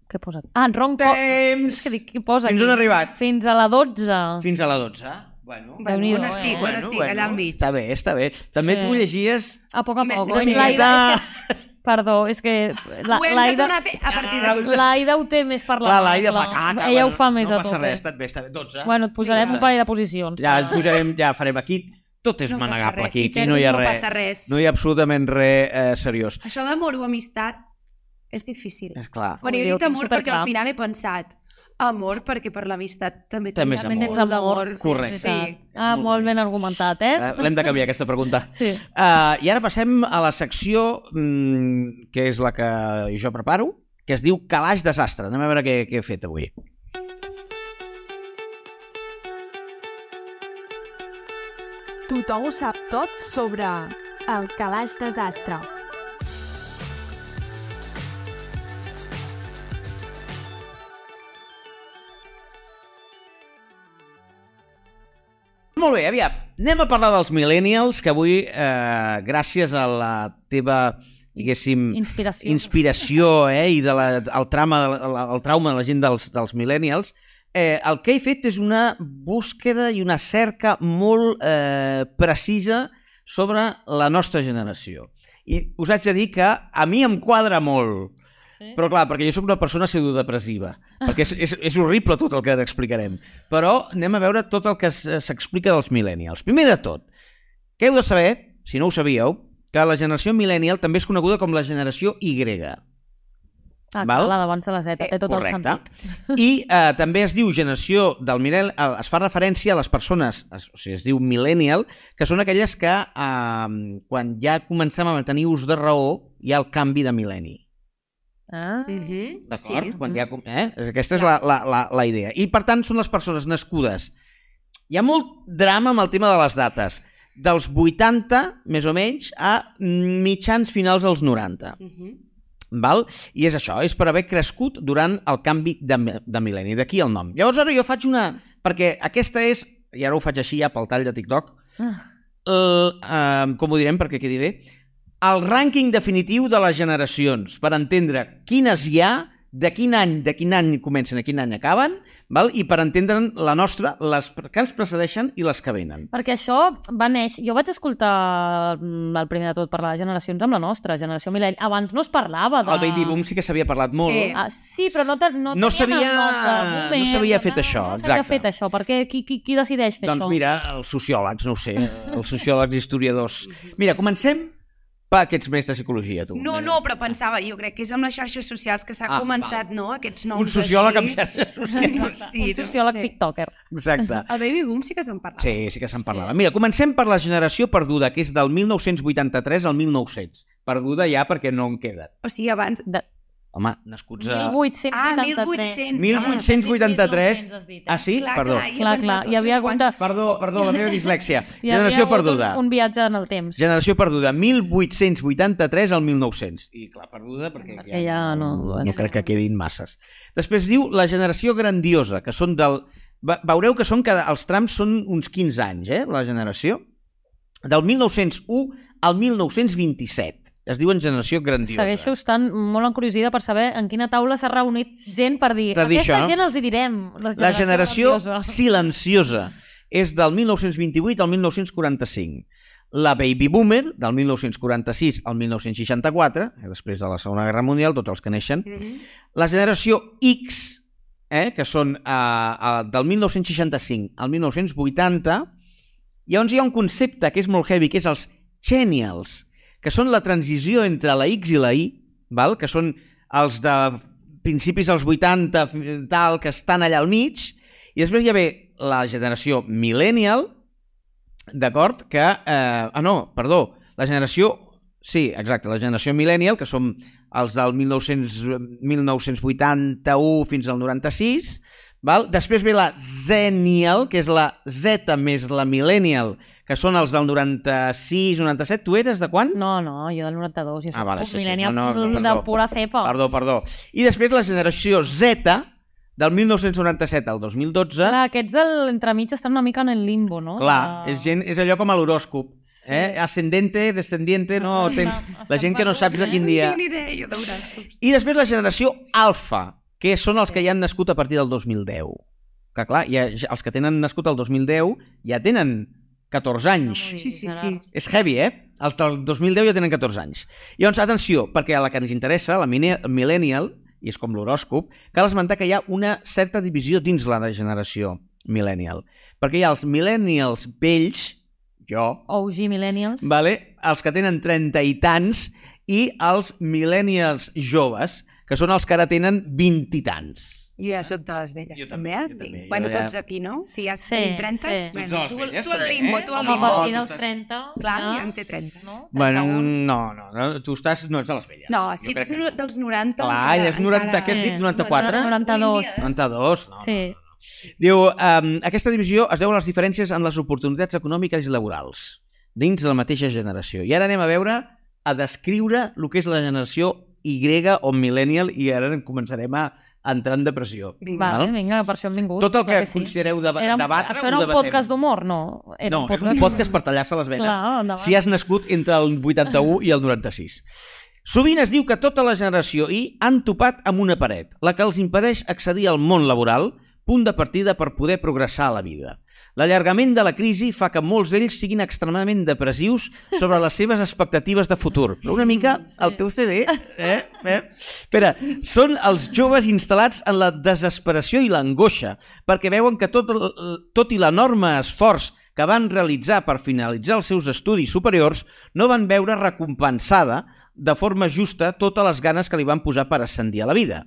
Què posa? Ah, en Ron Co...
Temps!
És que dic, què posa
Fins
aquí?
on ha arribat?
Fins a la 12.
Fins a la 12. Bueno,
Bueno,
Déu-n'hi-do,
on estic,
eh?
on estic, allà al mig.
Està bé, està bé. També
Sí.
tu llegies
A poc a
Me-
poc.
una
Oi,
miqueta.
l'Aida... Perdó, és que... La,
Ho hem de
l'Aida...
tornar a fer a partir
Ah,
d'avui.
L'Aida ho té més per la...
la Laia
la-
fa tata.
Ella ho
bueno,
fa més
no
a tot.
No passa res,
eh?
està bé, està bé. 12.
Bueno, doncs et posarem
Vinga.
un parell de posicions.
Ja et posarem, ja farem aquí. Tot és
No passa
manegable
res,
aquí,
si
aquí no hi ha
perds no
res.
passa res.
No hi ha absolutament res eh, seriós.
Això d'amor o amistat és difícil.
És clar.
Bueno, jo
Déu,
he dit
tinc
amor perquè
superclar.
al final he pensat amor perquè per l'amistat també,
També
tens
és amor.
molt d'amor.
Correcte.
Sí.
Ah,
Molt
molt
bé.
ben argumentat, eh?
Eh, L'hem de canviar, aquesta pregunta.
Sí.
Uh, I ara passem a la secció mm, que és la que jo preparo, que es diu Calaix Desastre. Anem a veure què, què he fet avui.
Tothom ho sap tot sobre el calaix desastre.
Molt bé, aviam. Anem a parlar dels millennials, que avui, eh, gràcies a la teva, diguéssim,
Inspiració.
inspiració eh, i de la, el, trama, el, el trauma de la gent dels, dels millennials, eh, el que he fet és una búsqueda i una cerca molt eh, precisa sobre la nostra generació. I us haig de dir que a mi em quadra molt,
Sí.
però clar, perquè jo sóc una persona pseudodepressiva, perquè és, és, és horrible tot el que explicarem. Però anem a veure tot el que s- s'explica dels millennials. Primer de tot, que heu de saber, si no ho sabíeu, que la generació millennial també és coneguda com la generació Y.
Ah,
Val?
clar, la d'abans de la Z, té tot el sentit.
I eh, també es diu generació del millennial, eh, es fa referència a les persones, es, o sigui, es diu millennial, que són aquelles que eh, quan ja començàvem a tenir ús de raó hi ha el canvi de mil·lenni.
Ah,
Mhm,
D'acord?
Sí.
Quan ja, com- eh? Aquesta és la, la, la, la idea. I, per tant, són les persones nascudes. Hi ha molt drama amb el tema de les dates. Dels 80, més o menys, a mitjans finals dels 90.
Mhm.
Val? I és això, és per haver crescut durant el canvi de, de mil·lenni. D'aquí el nom. Llavors, ara jo faig una... Perquè aquesta és... I ara ho faig així ja pel tall de TikTok.
Ah.
El, eh, com ho direm perquè quedi bé? El rànquing definitiu de les generacions, per entendre quines hi ha, de quin any, de quin any comencen, a quin any acaben, val? i per entendre'n la nostra, les que ens precedeixen i les que venen.
Perquè això va néixer... Jo vaig escoltar mm, el primer de tot parlar de generacions amb la nostra, generació Millennial. Abans no es parlava de...
El Baby Boom sí que s'havia parlat molt.
Sí.
Ah, sí, però no, te, no,
No
tenien el
s'havia-
nom del
no
moment,
s'havia fet
no,
això,
No s'havia
exacte.
fet això, perquè qui, qui, qui decideix fer
Doncs
això?
mira, els sociòlegs, no ho sé, els sociòlegs, historiadors. Mira, comencem per aquests més de psicologia, tu.
No, no, però pensava, jo crec que és amb les xarxes socials que s'ha
Ah,
ah, començat, no?, aquests nous
Un sociòleg amb
així.
xarxes
socials. Sí,
Un sociòleg
no?
tiktoker.
Exacte.
El Baby Boom sí que se'n parlava.
Sí, sí que se'n parlava. Mira, comencem per la generació perduda, que és del 1983 al 1900. Perduda ja perquè no en queda.
O sigui, abans...
De...
Home, nascuts a...
1883.
Ah, 1800.
1883. Ah, sí?
Clar,
Perdó.
Clar,
Clar,
jo he pensat,
clar, hi
ostres,
havia hagut
doncs, quants-
Perdó, perdó, la meva dislèxia.
Hi havia
Generació
hagut
perduda.
Un, un viatge en el temps.
Generació perduda, 1883 al 1900. I clar, perduda perquè ja,
Perquè ja no-
no crec que quedin masses. Després diu la generació grandiosa, que són del... ve- Veureu que són cada... els trams són uns 15 anys, eh, la generació. Del 1901 al 1927. Es diuen generació grandiosa.
Segueixo estant molt encuriosida per saber en quina taula s'ha reunit gent per dir
Per dir
aquesta
això.
gent els hi direm. Les
La generació
grandiosa".
silenciosa és del 1928 al 1945. La Baby Boomer, del 1946 al 1964, eh, després de la Segona Guerra Mundial, tots els que neixen.
Mm.
La generació X, eh, que són eh, eh, del 1965 al 1980. Llavors hi ha un concepte que és molt heavy, que és els Genials, que són la transició entre la X i la Y, val? que són els de principis dels 80, fi- tal, que estan allà al mig, i després hi ha bé la generació millennial, d'acord, que... Eh, ah, no, perdó, la generació... Sí, exacte, la generació millennial, que som els del 1900, 1981 fins al 96, val? després ve la Zenial, que és la Z més la Millennial, que són els del 96, 97. Tu eres de quan?
No, no, jo del 92, jo soc
Ah, vale,
puc
sí, sí,
millennial
no, no,
de
perdó.
pura cepa.
Perdó, perdó. I després la generació Z, del 1997 al 2012,
Clar, aquests del entremig estan una mica en el limbo, no?
Clar,
De-
és, gent, és allò com a l'horòscop. Eh? Ascendente, descendiente, no
Estan-
tens... La
estan
gent que no saps de
perduts,
quin
No
dia...
tinc ni idea, jo d'horàscops.
I després la generació alfa, que són els que ja han nascut a partir del 2010. Que clar, ja, ja- els que tenen nascut el 2010 ja tenen 14
No m'ho
anys.
diguis,
Sí, sí,
ara.
sí.
És heavy, eh? Els del 2010 ja tenen 14 anys. Llavors, atenció, perquè a la que ens interessa, la mine- millennial, i és com l'horòscop, cal esmentar que hi ha una certa divisió dins la de generació millennial. Perquè hi ha els millennials vells, jo,
OG millennials.
vale? els que tenen 30 i tants, i els millennials joves, que són els que ara tenen 20 i tants.
Jo ja soc de les velles,
Jo també,
també, eh?
jo també, jo
bueno,
ja-
tots aquí, no? Si ja
Sí,
tenim 30,
sí.
Tots
bueno,
de les
tu-
velles,
tu al
també,
limbo,
eh?
tu al
Home, a
limbo.
partir
tu
dels
estàs-
30...
Clar,
ja.
ja en té 30.
No?
Bueno,
31.
no, no, no, tu estàs, no ets de les velles.
No,
Jo
si
crec
ets
que
no-
no.
dels 90...
Clar,
encara-
ja és 90,
encara-
què has dit,
Sí.
94?
92.
92, no,
Sí.
Diu, um, aquesta divisió es deu a les diferències en les oportunitats econòmiques i laborals dins de la mateixa generació. I ara anem a veure, a descriure el que és la generació Y o millennial i ara començarem a entrar en depressió.
Vinga.
Vale,
Val?
vinga, per això hem vingut.
Tot el que,
clar
que considereu deba
Era un-
debatre
Això era
ho
un
debatem.
podcast d'humor, no? Era
No, és un podcast per tallar-se les venes.
Clar, endavant.
si has nascut entre el 81 i el 96. Sovint es diu que tota la generació I han topat amb una paret, la que els impedeix accedir al món laboral, punt de partida per poder progressar a la vida. L'allargament de la crisi fa que molts d'ells siguin extremadament depressius sobre les seves expectatives de futur. Però una mica el teu CD... Eh? Eh? Espera, són els joves instal·lats en la desesperació i l'angoixa, perquè veuen que tot, el- tot i l'enorme esforç que van realitzar per finalitzar els seus estudis superiors no van veure recompensada de forma justa totes les ganes que li van posar per ascendir a la vida.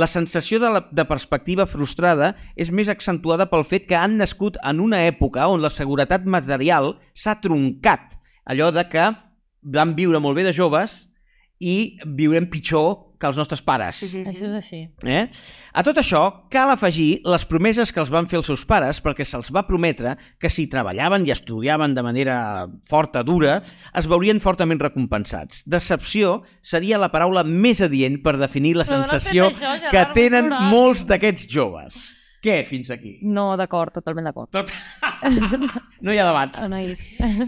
La sensació de, la, de perspectiva frustrada és més accentuada pel fet que han nascut en una època on la seguretat material s'ha troncat. Allò de que vam viure molt bé de joves i viurem pitjor que els nostres pares.
Això és així.
Eh? A tot això, cal afegir les promeses que els van fer els seus pares perquè se'ls va prometre que si treballaven i estudiaven de manera forta, dura, es veurien fortament recompensats. Decepció seria la paraula més adient per definir la
Però no has fet
sensació
això, Gerard,
que tenen
m'ho jures.
molts d'aquests joves. Què, fins aquí?
No, d'acord, totalment d'acord.
Tot... no hi ha debat.
Anaïs.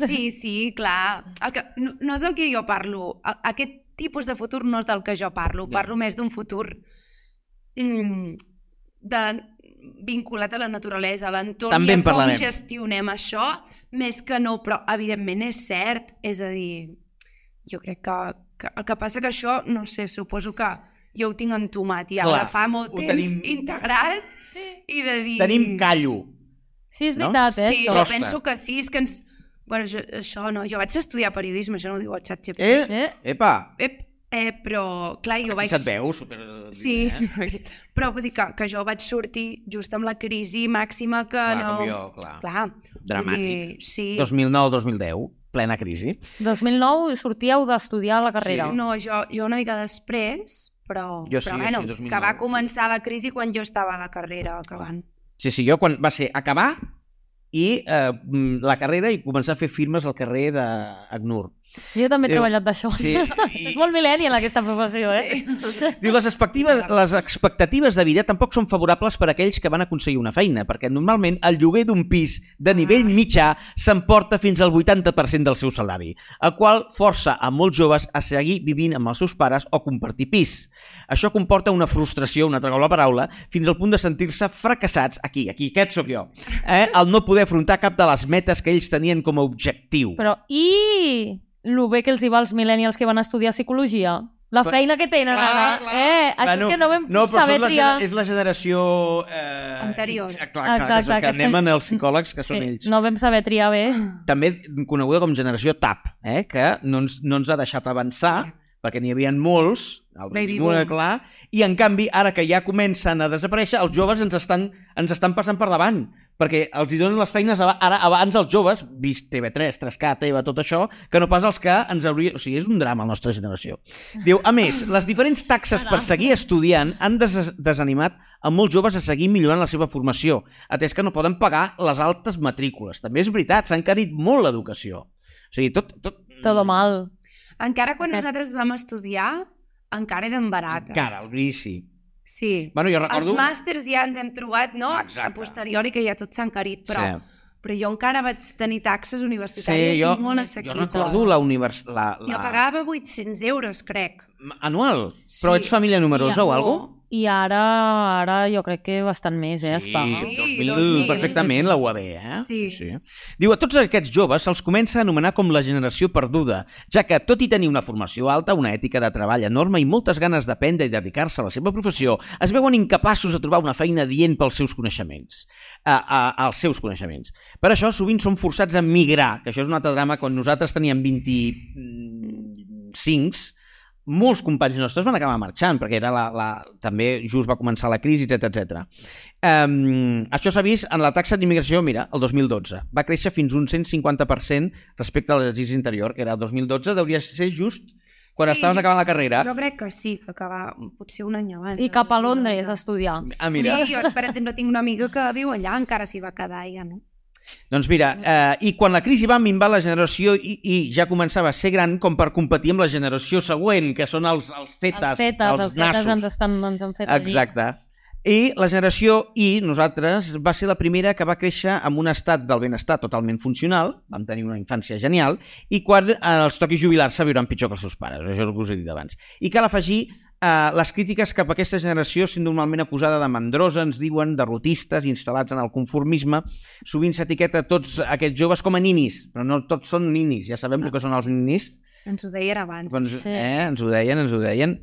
Sí, sí, clar. El que, no, no és del que jo parlo. A- Aquest tipus de futur no és del que jo parlo. Parlo més d'un futur mm, de, vinculat a la naturalesa, a l'entorn
També
i a
en
com
parlarem.
gestionem això, més que no, però evidentment és cert, és a dir, jo crec que, que el que passa que això, no sé, suposo que jo ho tinc entomat i
Clar,
ara fa molt
ho
temps
tenim-
integrat i de dir...
Tenim callo.
Sí, és
No?
veritat, eh?
Sí,
això.
jo
Costa.
penso que sí, és que ens... Bueno, jo, això no, jo vaig estudiar periodisme, això no ho diu el xat xip.
Eh?
Eh?
Epa!
Ep, eh, però, clar, jo vaig...
Se't veu super...
Sí,
eh?
sí. Però vull dir que, que jo vaig sortir just amb la crisi màxima que
Clar,
no...
com jo, clar.
Clar.
Dramàtic.
Vull dir, sí.
2009-2010, plena crisi.
2009 sortíeu d'estudiar a la carrera.
No, jo, jo una mica després, però,
Jo sí,
però
jo
bueno,
sí, 2009.
que va començar la crisi quan jo estava a la carrera acabant.
Sí, sí, jo quan va ser acabar i eh, mm, la carrera i començar a fer firmes al carrer d'Agnur.
Jo també he
Eh,
treballat d'això.
sí, i-
és molt millennial aquesta professió, eh?
Diu, les expectatives, les expectatives de vida tampoc són favorables per a aquells que van aconseguir una feina, perquè normalment el lloguer d'un pis de nivell mitjà s'emporta fins al 80% del seu salari, el qual força a molts joves a seguir vivint amb els seus pares o compartir pis. Això comporta una frustració, una altra cop la paraula, fins al punt de sentir-se fracassats, aquí, aquí, aquest sóc jo, eh? al no poder afrontar cap de les metes que ells tenien com a objectiu.
Però i lo bé que els hi va als millennials que van estudiar psicologia? La
Però-
feina que tenen
Clar,
ara.
clar.
Eh, això és que no vam
no, però
saber
són la,
triar.
gener- És la generació... Eh,
Anterior.
X, clar, clar,
Exacte,
Exacte, que,
aquesta-
que anem en els psicòlegs, que sí, són ells. Mm. No.
No vam saber triar bé.
També coneguda com generació TAP, eh, que no ens, no ens ha deixat avançar, perquè n'hi havia molts, el
Baby
Baby Boom,
boom.
clar, i en canvi, ara que ja comencen a desaparèixer, els joves ens estan, ens estan passant per davant, perquè els hi donen les feines aba- ara abans els joves, vist TV3, 3K, TV, tot això, que no pas els que ens hauria... O sigui, és un drama la nostra generació. Diu, a més, les diferents taxes per seguir estudiant han des desanimat a molts joves a seguir millorant la seva formació, atès que no poden pagar les altes matrícules. També és veritat, s'ha encarit molt l'educació. O sigui, tot... tot...
Todo mal.
Encara quan
Aquest-
nosaltres vam estudiar, encara eren barates.
Cara, el grisi.
Sí.
Bueno, jo
Els
recordo...
màsters ja ens hem trobat, no?
Exacte.
A posteriori, que ja tot s'ha encarit, però,
Sí.
sí. però jo encara vaig tenir taxes universitàries
Sí, jo,
molt
jo
assequibles.
recordo la univers... La, la...
Jo pagava 800 euros, crec. Oh.
Anual? Però
Sí.
ets família numerosa
Ja,
o
no.
algo?
I ara ara jo crec que bastant més, eh, Espa?
Sí,
2000,
2000.
perfectament, la UAB, eh?
Sí.
Diu, a tots aquests joves se'ls comença a anomenar com la generació perduda, ja que, tot i tenir una formació alta, una ètica de treball enorme i moltes ganes d'aprendre i dedicar-se a la seva professió, es veuen incapaços de trobar una feina dient pels seus coneixements, a, a, als seus coneixements. Per això, sovint són forçats a migrar, que això és un altre drama, quan nosaltres teníem 25 molts companys nostres van acabar marxant perquè era la, la, també just va començar la crisi, etc etc. Um, això s'ha vist en la taxa d'immigració, mira, el 2012. Va créixer fins un 150% respecte a l'exercici anterior, que era el 2012, hauria de ser just quan
Sí,
sí, estaves
jo-
acabant la carrera.
Jo crec que sí, que acaba potser un any abans. eh,
I cap a Londres a estudiar.
Ah, mira.
Mira. Sí, jo, per exemple, tinc una amiga que viu allà, encara s'hi va quedar ja, no?
Doncs mira, eh, i quan la crisi va minvar la generació i, i ja començava a ser gran com per competir amb la generació següent, que són els, els zetes,
Els tetes, els, tetes
nassos.
ens, estan, ens han fet allí.
Exacte. I la generació I, nosaltres, va ser la primera que va créixer amb un estat del benestar totalment funcional, vam tenir una infància genial, i quan eh, els toqui jubilar-se viuran pitjor que els seus pares, això és el que us he dit abans. I cal afegir eh, les crítiques cap a aquesta generació sent normalment acusada de mandrosa, ens diuen, derrotistes, instal·lats en el conformisme. Sovint s'etiqueta tots aquests joves com a ninis, però no tots són ninis, ja sabem el que són els ninis.
Ens ho deien abans.
Doncs,
Sí.
sí. eh, ens ho deien, ens ho deien.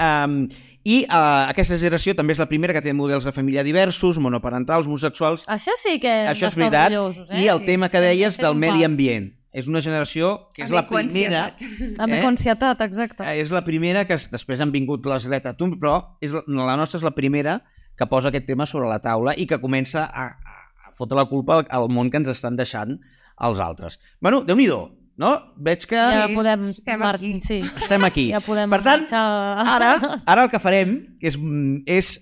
Um, I uh, aquesta generació també és la primera que té models de família diversos, monoparentals, homosexuals...
Això sí que hem
Això és
d'estar
veritat.
orgullosos, eh?
I el tema que deies
Hem fet
del
un
medi
pas.
ambient. És una generació que és
A mi
la primera...
ansietat.
També
eh?
eh? concietat, exacte.
Eh, és la primera que es- després han vingut les Greta Thunberg, però és la, la nostra és la primera que posa aquest tema sobre la taula i que comença a, a fotre la culpa al, al món que ens estan deixant els altres. Bueno, déu nhi no? Veig que
Ja
Sí,
podem...
estem
Martín,
aquí.
sí.
estem aquí.
Ja podem
per tant, ah,
marxar...
Ara, ara el que farem és, mm, és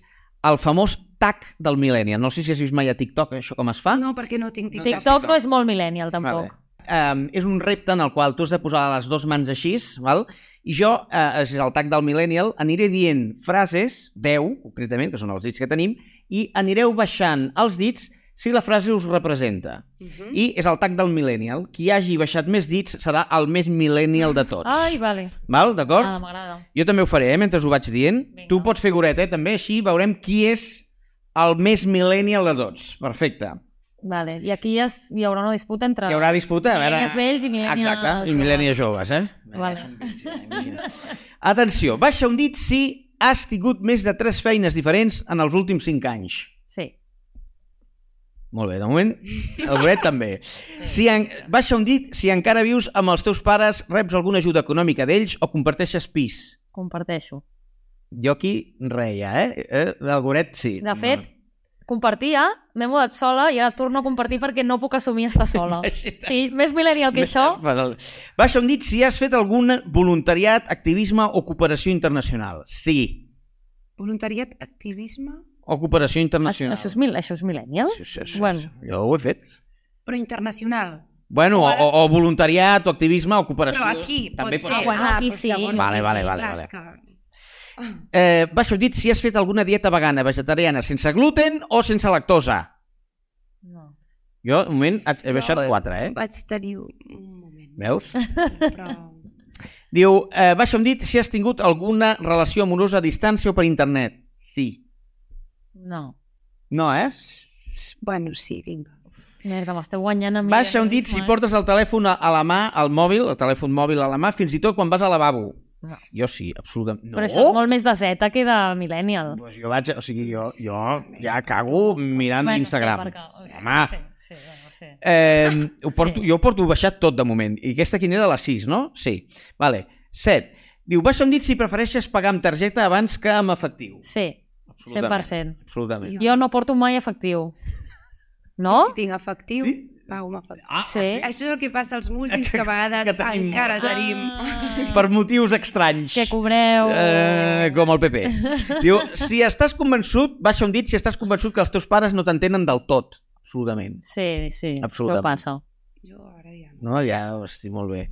el famós tag del millennial. No sé si has vist mai a TikTok això com es fa.
No, perquè no tinc TikTok.
TikTok no és molt millennial, tampoc.
Vale. Um, és un repte en el qual tu has de posar les dues mans així, val? i jo, eh, és el tag del millennial, aniré dient frases, 10 concretament, que són els dits que tenim, i anireu baixant els dits si la frase us representa.
Uh
Mhm.
-huh.
I és el tac del millennial. Qui hagi baixat més dits serà el més millennial de tots.
Ai, vale.
Val, d'acord?
Ah, m'agrada.
Jo també ho faré, eh, mentre ho vaig dient.
Vinga.
Tu pots fer goreta, eh, també, així veurem qui és el més millennial de tots. Perfecte.
Vale. I aquí hi, ha, hi haurà una disputa entre...
Hi haurà disputa, a veure...
Millennials vells i millennials
Exacte, i
joves.
millennials joves, eh?
Vale.
Imagina. Atenció, baixa un dit si has tingut més de tres feines diferents en els últims cinc anys.
Sí.
Molt bé, de moment, el Bret també. Si en... Baixa un dit si encara vius amb els teus pares, reps alguna ajuda econòmica d'ells o comparteixes pis.
Comparteixo.
Jo aquí reia, eh? eh? El goret sí.
De fet, compartia, m'he mudat sola i ara torno a compartir perquè no puc assumir estar sola. Sí, més millennial que això.
Fatal. eh, Baixa un dit si has fet algun voluntariat, activisme o cooperació internacional. Sí,
Voluntariat, activisme,
o cooperació
Això,
internacional.
això, és, mil, això és millennial?
Sí, sí, sí,
Bueno.
sí. Jo ho he fet.
però internacional.
Bueno, o, o voluntariat, o activisme, o cooperació.
Però aquí
També pot
pot ser.
Ah, bueno, aquí
doncs
sí.
llavors
Vale,
sí,
vale,
sí,
vale,
clar,
vale.
és que-
Eh, baixa un dit si has fet alguna dieta vegana, vegetariana, sense gluten o sense lactosa.
No.
Jo, de moment, he baixat
No, eh,
quatre, eh?
Vaig tenir un moment,
Veus?
però...
Diu, eh, baixa'm dit si has tingut alguna relació amorosa a distància o per internet. Sí.
No.
No, eh?
Bueno, sí, vinga.
Merda, m'esteu guanyant a mi. eh?
Baixa un dit si portes el telèfon a, a la mà, al mòbil, el telèfon mòbil a la mà, fins i tot quan vas al lavabo.
No.
Jo sí, absolutament. No?
eh? Però això és molt més de Z que de millennial.
Pues jo vaig, o sigui, jo, jo ja cago mirant bueno,
Bueno, sí,
Instagram.
perquè-
Home,
Sí, sí, bueno, sí.
eh, ho porto,
Sí.
jo ho porto baixat tot de moment. I aquesta quina era? La 6, no? Sí. Vale. 7. Diu, baixa'm dit si prefereixes pagar amb targeta abans que amb efectiu.
Sí, 100%.
Absolutament.
Jo no porto mai efectiu. No?
Si tinc efectiu,
Sí?
pago amb efectiu.
Ah,
Sí.
hosti,
Això és el que passa als músics, que a vegades
Que tenim- Ah.
encara tenim...
per motius estranys.
Ah. Que cobreu...
Eh, com el PP. Diu, si estàs convençut, baixa un dit, si estàs convençut que els teus pares no t'entenen del tot. Absolutament.
Sí, sí,
Absolutament.
això passa.
Jo ara ja no.
No? Ja, hosti, molt bé.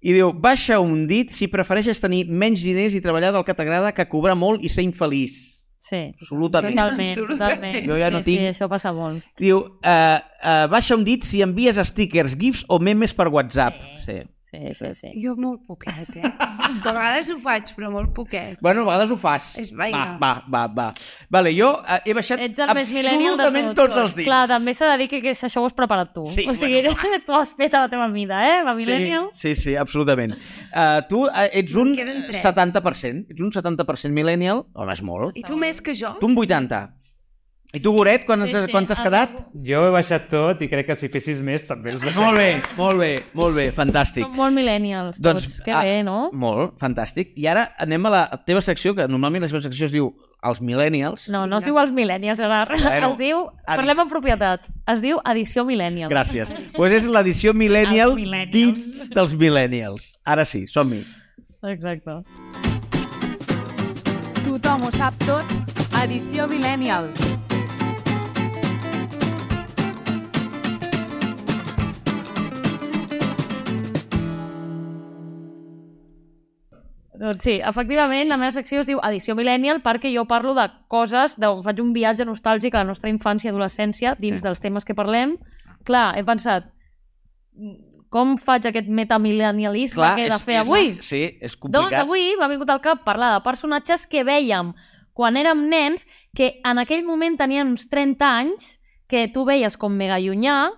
I diu, baixa un dit si prefereixes tenir menys diners i treballar del que t'agrada que cobrar molt i ser infeliç.
Sí.
Absolutament.
Totalment,
Absolutament.
totalment.
Jo ja no
sí,
tinc.
Sí, això passa molt.
Diu, eh, eh, baixa un dit si envies stickers, gifs o memes per WhatsApp. Sí.
Sí, sí, sí.
Jo molt poquet, eh? De vegades ho faig, però molt poquet.
Bueno, a vegades ho fas.
És vaina.
Va, va, va, va. Vale, jo eh, he baixat
Ets el més millennial de
absolutament
tots.
tots els dits.
Clar, també s'ha de dir que, que això ho has preparat tu.
Sí,
o sigui,
bueno,
tu has fet a la teva mida, eh? La millennial.
Sí, sí, sí absolutament. Uh, tu uh, ets un
Em queden tres.
70%, ets un 70% millennial, home, és molt.
I tu més que jo?
Tu un 80. I tu, Goret, quan
Sí,
has-
sí, Ah,
quan t'has
el
quedat?
meu-
Jo ho he baixat tot i crec que si fessis més també els baixaré.
Molt bé, molt bé, molt bé, fantàstic.
Som molt millennials tots.
Doncs,
que
ah,
bé, no?
Molt, fantàstic. I ara anem a la teva secció, que normalment la teva secció es diu els millennials.
No, no es diu els millennials, ara.
Bueno,
es diu... Parlem en propietat. Es diu edició millennial.
Gràcies. Doncs pues és l'edició millennial
Els millennials.
dins dels millennials. Ara sí, som-hi.
Exacte.
Tothom ho sap tot. Edició Millennial.
Doncs sí, efectivament, la meva secció es diu Edició Millennial perquè jo parlo de coses, de, faig un viatge nostàlgic a la nostra infància i adolescència dins sí. dels temes que parlem. Clar, he pensat, "Mm, com faig aquest metamillennialisme que he de fer avui?
És, sí, és complicat.
Doncs avui m'ha vingut al cap parlar de personatges que vèiem quan érem nens, que en aquell moment tenien uns 30 anys, que tu veies com mega llunyà,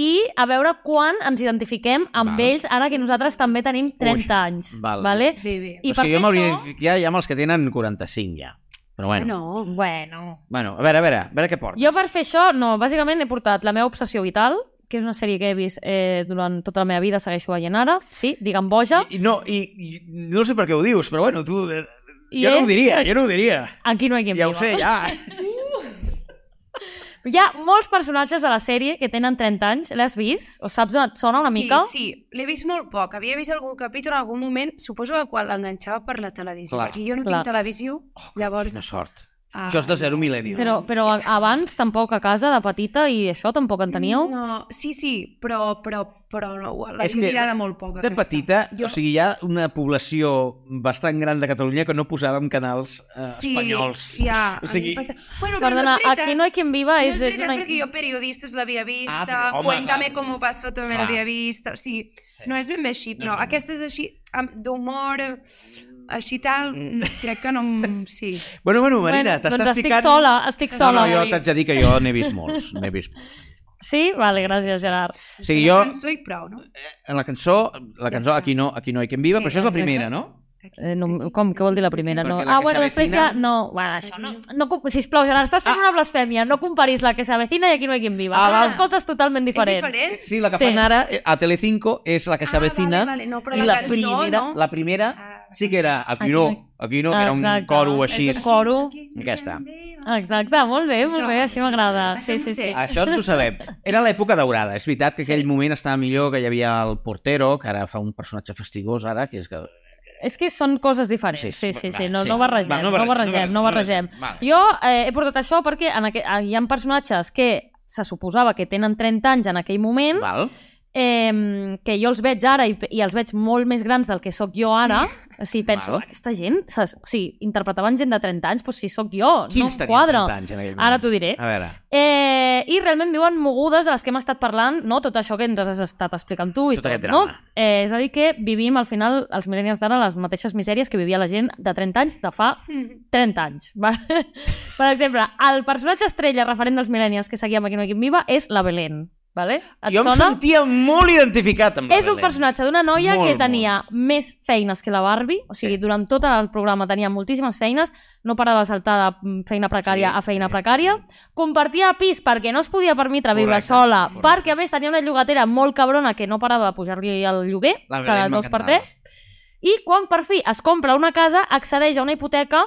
i a veure quan ens identifiquem amb
Val.
ells ara que nosaltres també tenim 30 anys.
val.
Vale?
Bé, bé.
I
I és que
per
jo
fer
m'hauria
això...
d'identificar ja amb els que tenen 45 ja. Però bueno.
No,
Bueno.
Bueno, a veure, a veure, a veure què porta.
Jo per fer això, no, bàsicament he portat La meva obsessió vital, que és una sèrie que he vist eh, durant tota la meva vida, segueixo veient ara. Sí, digue'm boja.
I, i no, i, i, no sé per què ho dius, però bueno, tu... eh,
I
jo no
és-
ho diria, jo no ho diria.
Aquí no hi ha qui em
Ja ho
viva.
sé, ja.
Hi ha molts personatges de la sèrie que tenen 30 anys. L'has vist? O saps on et sona una
sí,
mica?
Sí, l'he vist molt poc. Havia vist algun capítol en algun moment, suposo que quan l'enganxava per la televisió.
Clar.
Clar. I jo no
Clar.
tinc televisió, llavors
Quina sort.
Ah,
Això és de zero mil·lenni.
Però, però a- abans tampoc a casa, de petita, i això tampoc en teníeu?
No, sí, sí, però, però, però no, la
És
gent
que
dirà de molt poc.
De
aquesta.
petita,
Jo-
o sigui, hi ha una població bastant gran de Catalunya que no posàvem canals eh,
sí,
espanyols.
Ja,
o sigui,
passa... bueno, però
Perdona,
no és veritat.
aquí no hay quien viva
No
és,
és
és
veritat,
una...
perquè jo periodistes l'havia vista,
Ah,
ah,
però, home,
Cuéntame
clar.
cómo pasó també
Clar.
l'havia vista, o sigui, no és ben bé així, no, no, no. aquesta és així, amb- d'humor, eh, així tal, mm, crec que no... em- Sí.
Bueno, bueno, Marina,
Bueno,
t'estàs
doncs estic
picant...
sola, estic sola
No, no, jo
avui.
t'haig de dir que jo n'he vist molts, n'he vist.
Sí? Vale, gràcies, Gerard.
O sigui, jo,
No soy prou, no?
en la cançó, la cançó Aquí no, aquí no hi quien viva,
Sí,
però això és la
exacte.
primera, no?
Eh, no, com? Què vol dir la primera? No.
Perquè la
Ah,
que
bueno, després ja...
s'avecina-
No, bueno, això no... no com- sisplau, Gerard, estàs fent una blasfèmia. No comparis la que s'avecina i aquí no hi quien viva.
Ah,
Són
val.
dues coses totalment diferents.
És diferent?
Sí, la que
Sí.
fan ara eh, a Telecinco és la que
Ah,
s'avecina
vale, vale, no, però
i
la
la,
cançó,
primera,
no?
la primera
Ah, la
sí que era Aquí
Aquí
no,
no-
aquí no, que era un
Exacte.
coro així.
És un coro.
Aquesta.
Exacte, molt bé, molt
Això.
bé, així m'agrada. Sí,
Això
sí,
no
sí.
sé.
Això ens ho sabem. Era l'època daurada. És veritat que aquell moment estava millor, que hi havia el portero, que ara fa un personatge fastigós, ara, que és que...
És que són coses diferents.
Sí,
Sí,
sí,
sí, sí,
va,
no,
sí.
no barregem,
Va, no
no
barregem,
barregem,
no
no
barregem. Vale.
barregem. Jo eh, he portat això perquè en aqu... hi ha personatges que se suposava que tenen 30 anys en aquell moment,
Val?
eh, que jo els veig ara i, i els veig molt més grans del que sóc jo ara, o sigui, penso,
Val.
aquesta gent, se- o sigui, interpretaven gent de 30 anys, doncs si sóc jo,
Quins
no em
tenien
quadra.
30 anys en aquell moment?
Ara t'ho diré.
A veure.
Eh, I realment viuen mogudes de les que hem estat parlant, no? tot això que ens has estat explicant tu. I
Tot
tot,
aquest
no?
drama.
Eh, és a dir, que vivim al final, els millennials d'ara, les mateixes misèries que vivia la gent de 30 anys de fa 30 anys. Va? per exemple, el personatge estrella referent dels millennials que seguia amb Aquí no hi ha quien viva és la Belén. Vale? Et
jo em
sona?
sentia molt identificat amb la
És un
Belén.
personatge d'una noia
Molt,
que tenia més feines que la Barbie, o sigui,
Sí.
durant tot el programa tenia moltíssimes feines, no parava de saltar de mm, feina precària
Sí,
a feina
sí.
precària, compartia pis perquè no es podia permetre viure
Correcte,
sola,
correcte.
perquè a més tenia una llogatera molt cabrona que no parava de pujar-li el lloguer,
La Belén
cada dos per
m'encantava.
tres, i quan per fi es compra una casa, accedeix a una hipoteca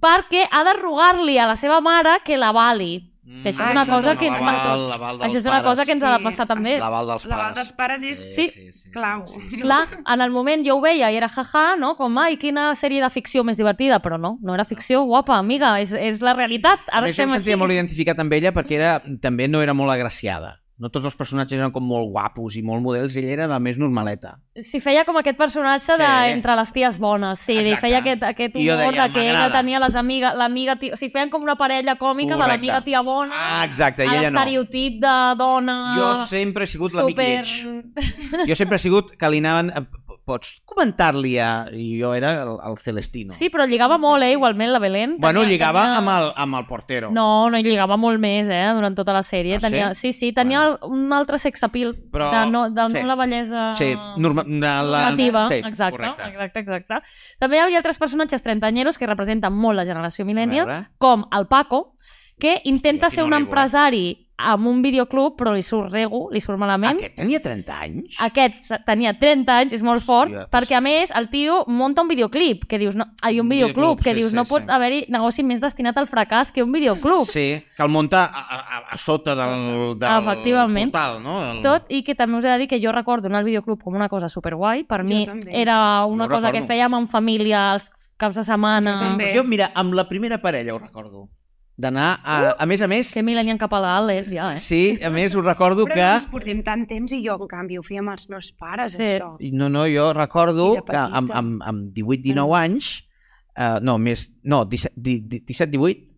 perquè ha de rogar-li a la seva mare que la vali.
Mm,
Que això
Ah,
és una
això
cosa
no,
que ens
l'aval-
va- Això és una cosa que ens ha de passar
Sí,
també.
L'aval dels pares.
L'aval dels pares és
Sí.
clau.
Clar, en el moment jo ho veia i era jaja, no? Com, ai, quina sèrie de ficció més divertida, però no, no era ficció, guapa, amiga, és, és la realitat.
A
Ara
més, jo
estem
em
així.
sentia molt identificat amb ella perquè era, també no era molt agraciada. No tots els personatges eren com molt guapos i molt models, ella era la més normaleta.
Si feia com aquest personatge de
Sí.
entre les ties bones, sí, li
Exacte.
feia aquest, aquest
I jo
humor
deia,
de que ella
"M'agrada".
tenia les amigues, l'amiga tia... O sigui, feien com una parella còmica
Correcte.
de l'amiga tia bona,
Ah, exacte, i
a
ella no.
l'estereotip de dona...
Jo sempre he sigut l'amic
Ah, super...
lleig. Jo sempre he sigut que li anaven... a- Pots comentar-li a... I jo era el, el Celestino.
Sí, però lligava molt, eh, igualment, la Belén.
bueno,
Tenia-
lligava
tenia-
amb, el, amb el portero.
No, no hi lligava molt més, eh, durant tota la sèrie.
Ah, sí?
tenia, sí? sí, tenia un altre sexapil
Però-
Però... de, no, de
sí.
no la bellesa
Sí, norma, de la...
normativa.
Sí,
exacte,
correcte.
exacte, exacte. També hi havia altres personatges trentanyeros que representen molt la generació
A
millennial,
veure.
com el Paco, que intenta
aquí
ser
no
un
arribo, eh?
empresari amb un videoclub, però li surt rego, li surt malament.
Aquest tenia 30 anys?
Aquest se- tenia 30 anys, és molt fort,
Hòstia,
perquè a més el tio monta un videoclip, que dius, no, ai, un videoclub, que
sí,
dius,
sí,
no
sí.
pot haver-hi negoci més destinat al fracàs que un videoclub.
Sí, que el munta a, a, a, a sota del, del
Efectivament.
portal, no? El...
tot i que també us he de dir que jo recordo anar al videoclub com una cosa superguai. Per
Jo
mi
també.
era una
Jo ho
cosa
recordo.
que fèiem en família els caps de setmana.
Jo també.
Pues Ah, doncs jo, mira, amb la primera parella ho recordo. D'anar a... A més a més...
Que mil anien cap a dalt, és ja, eh?
Sí, a més ho recordo
Però no ens
que...
portem tant temps i jo, en canvi, ho feia amb els meus pares,
Sí.
això.
No, no, jo
I
recordo
de
que amb,
petita.
amb, amb 18-19 anys, eh, no, més, no, 17-18, eh,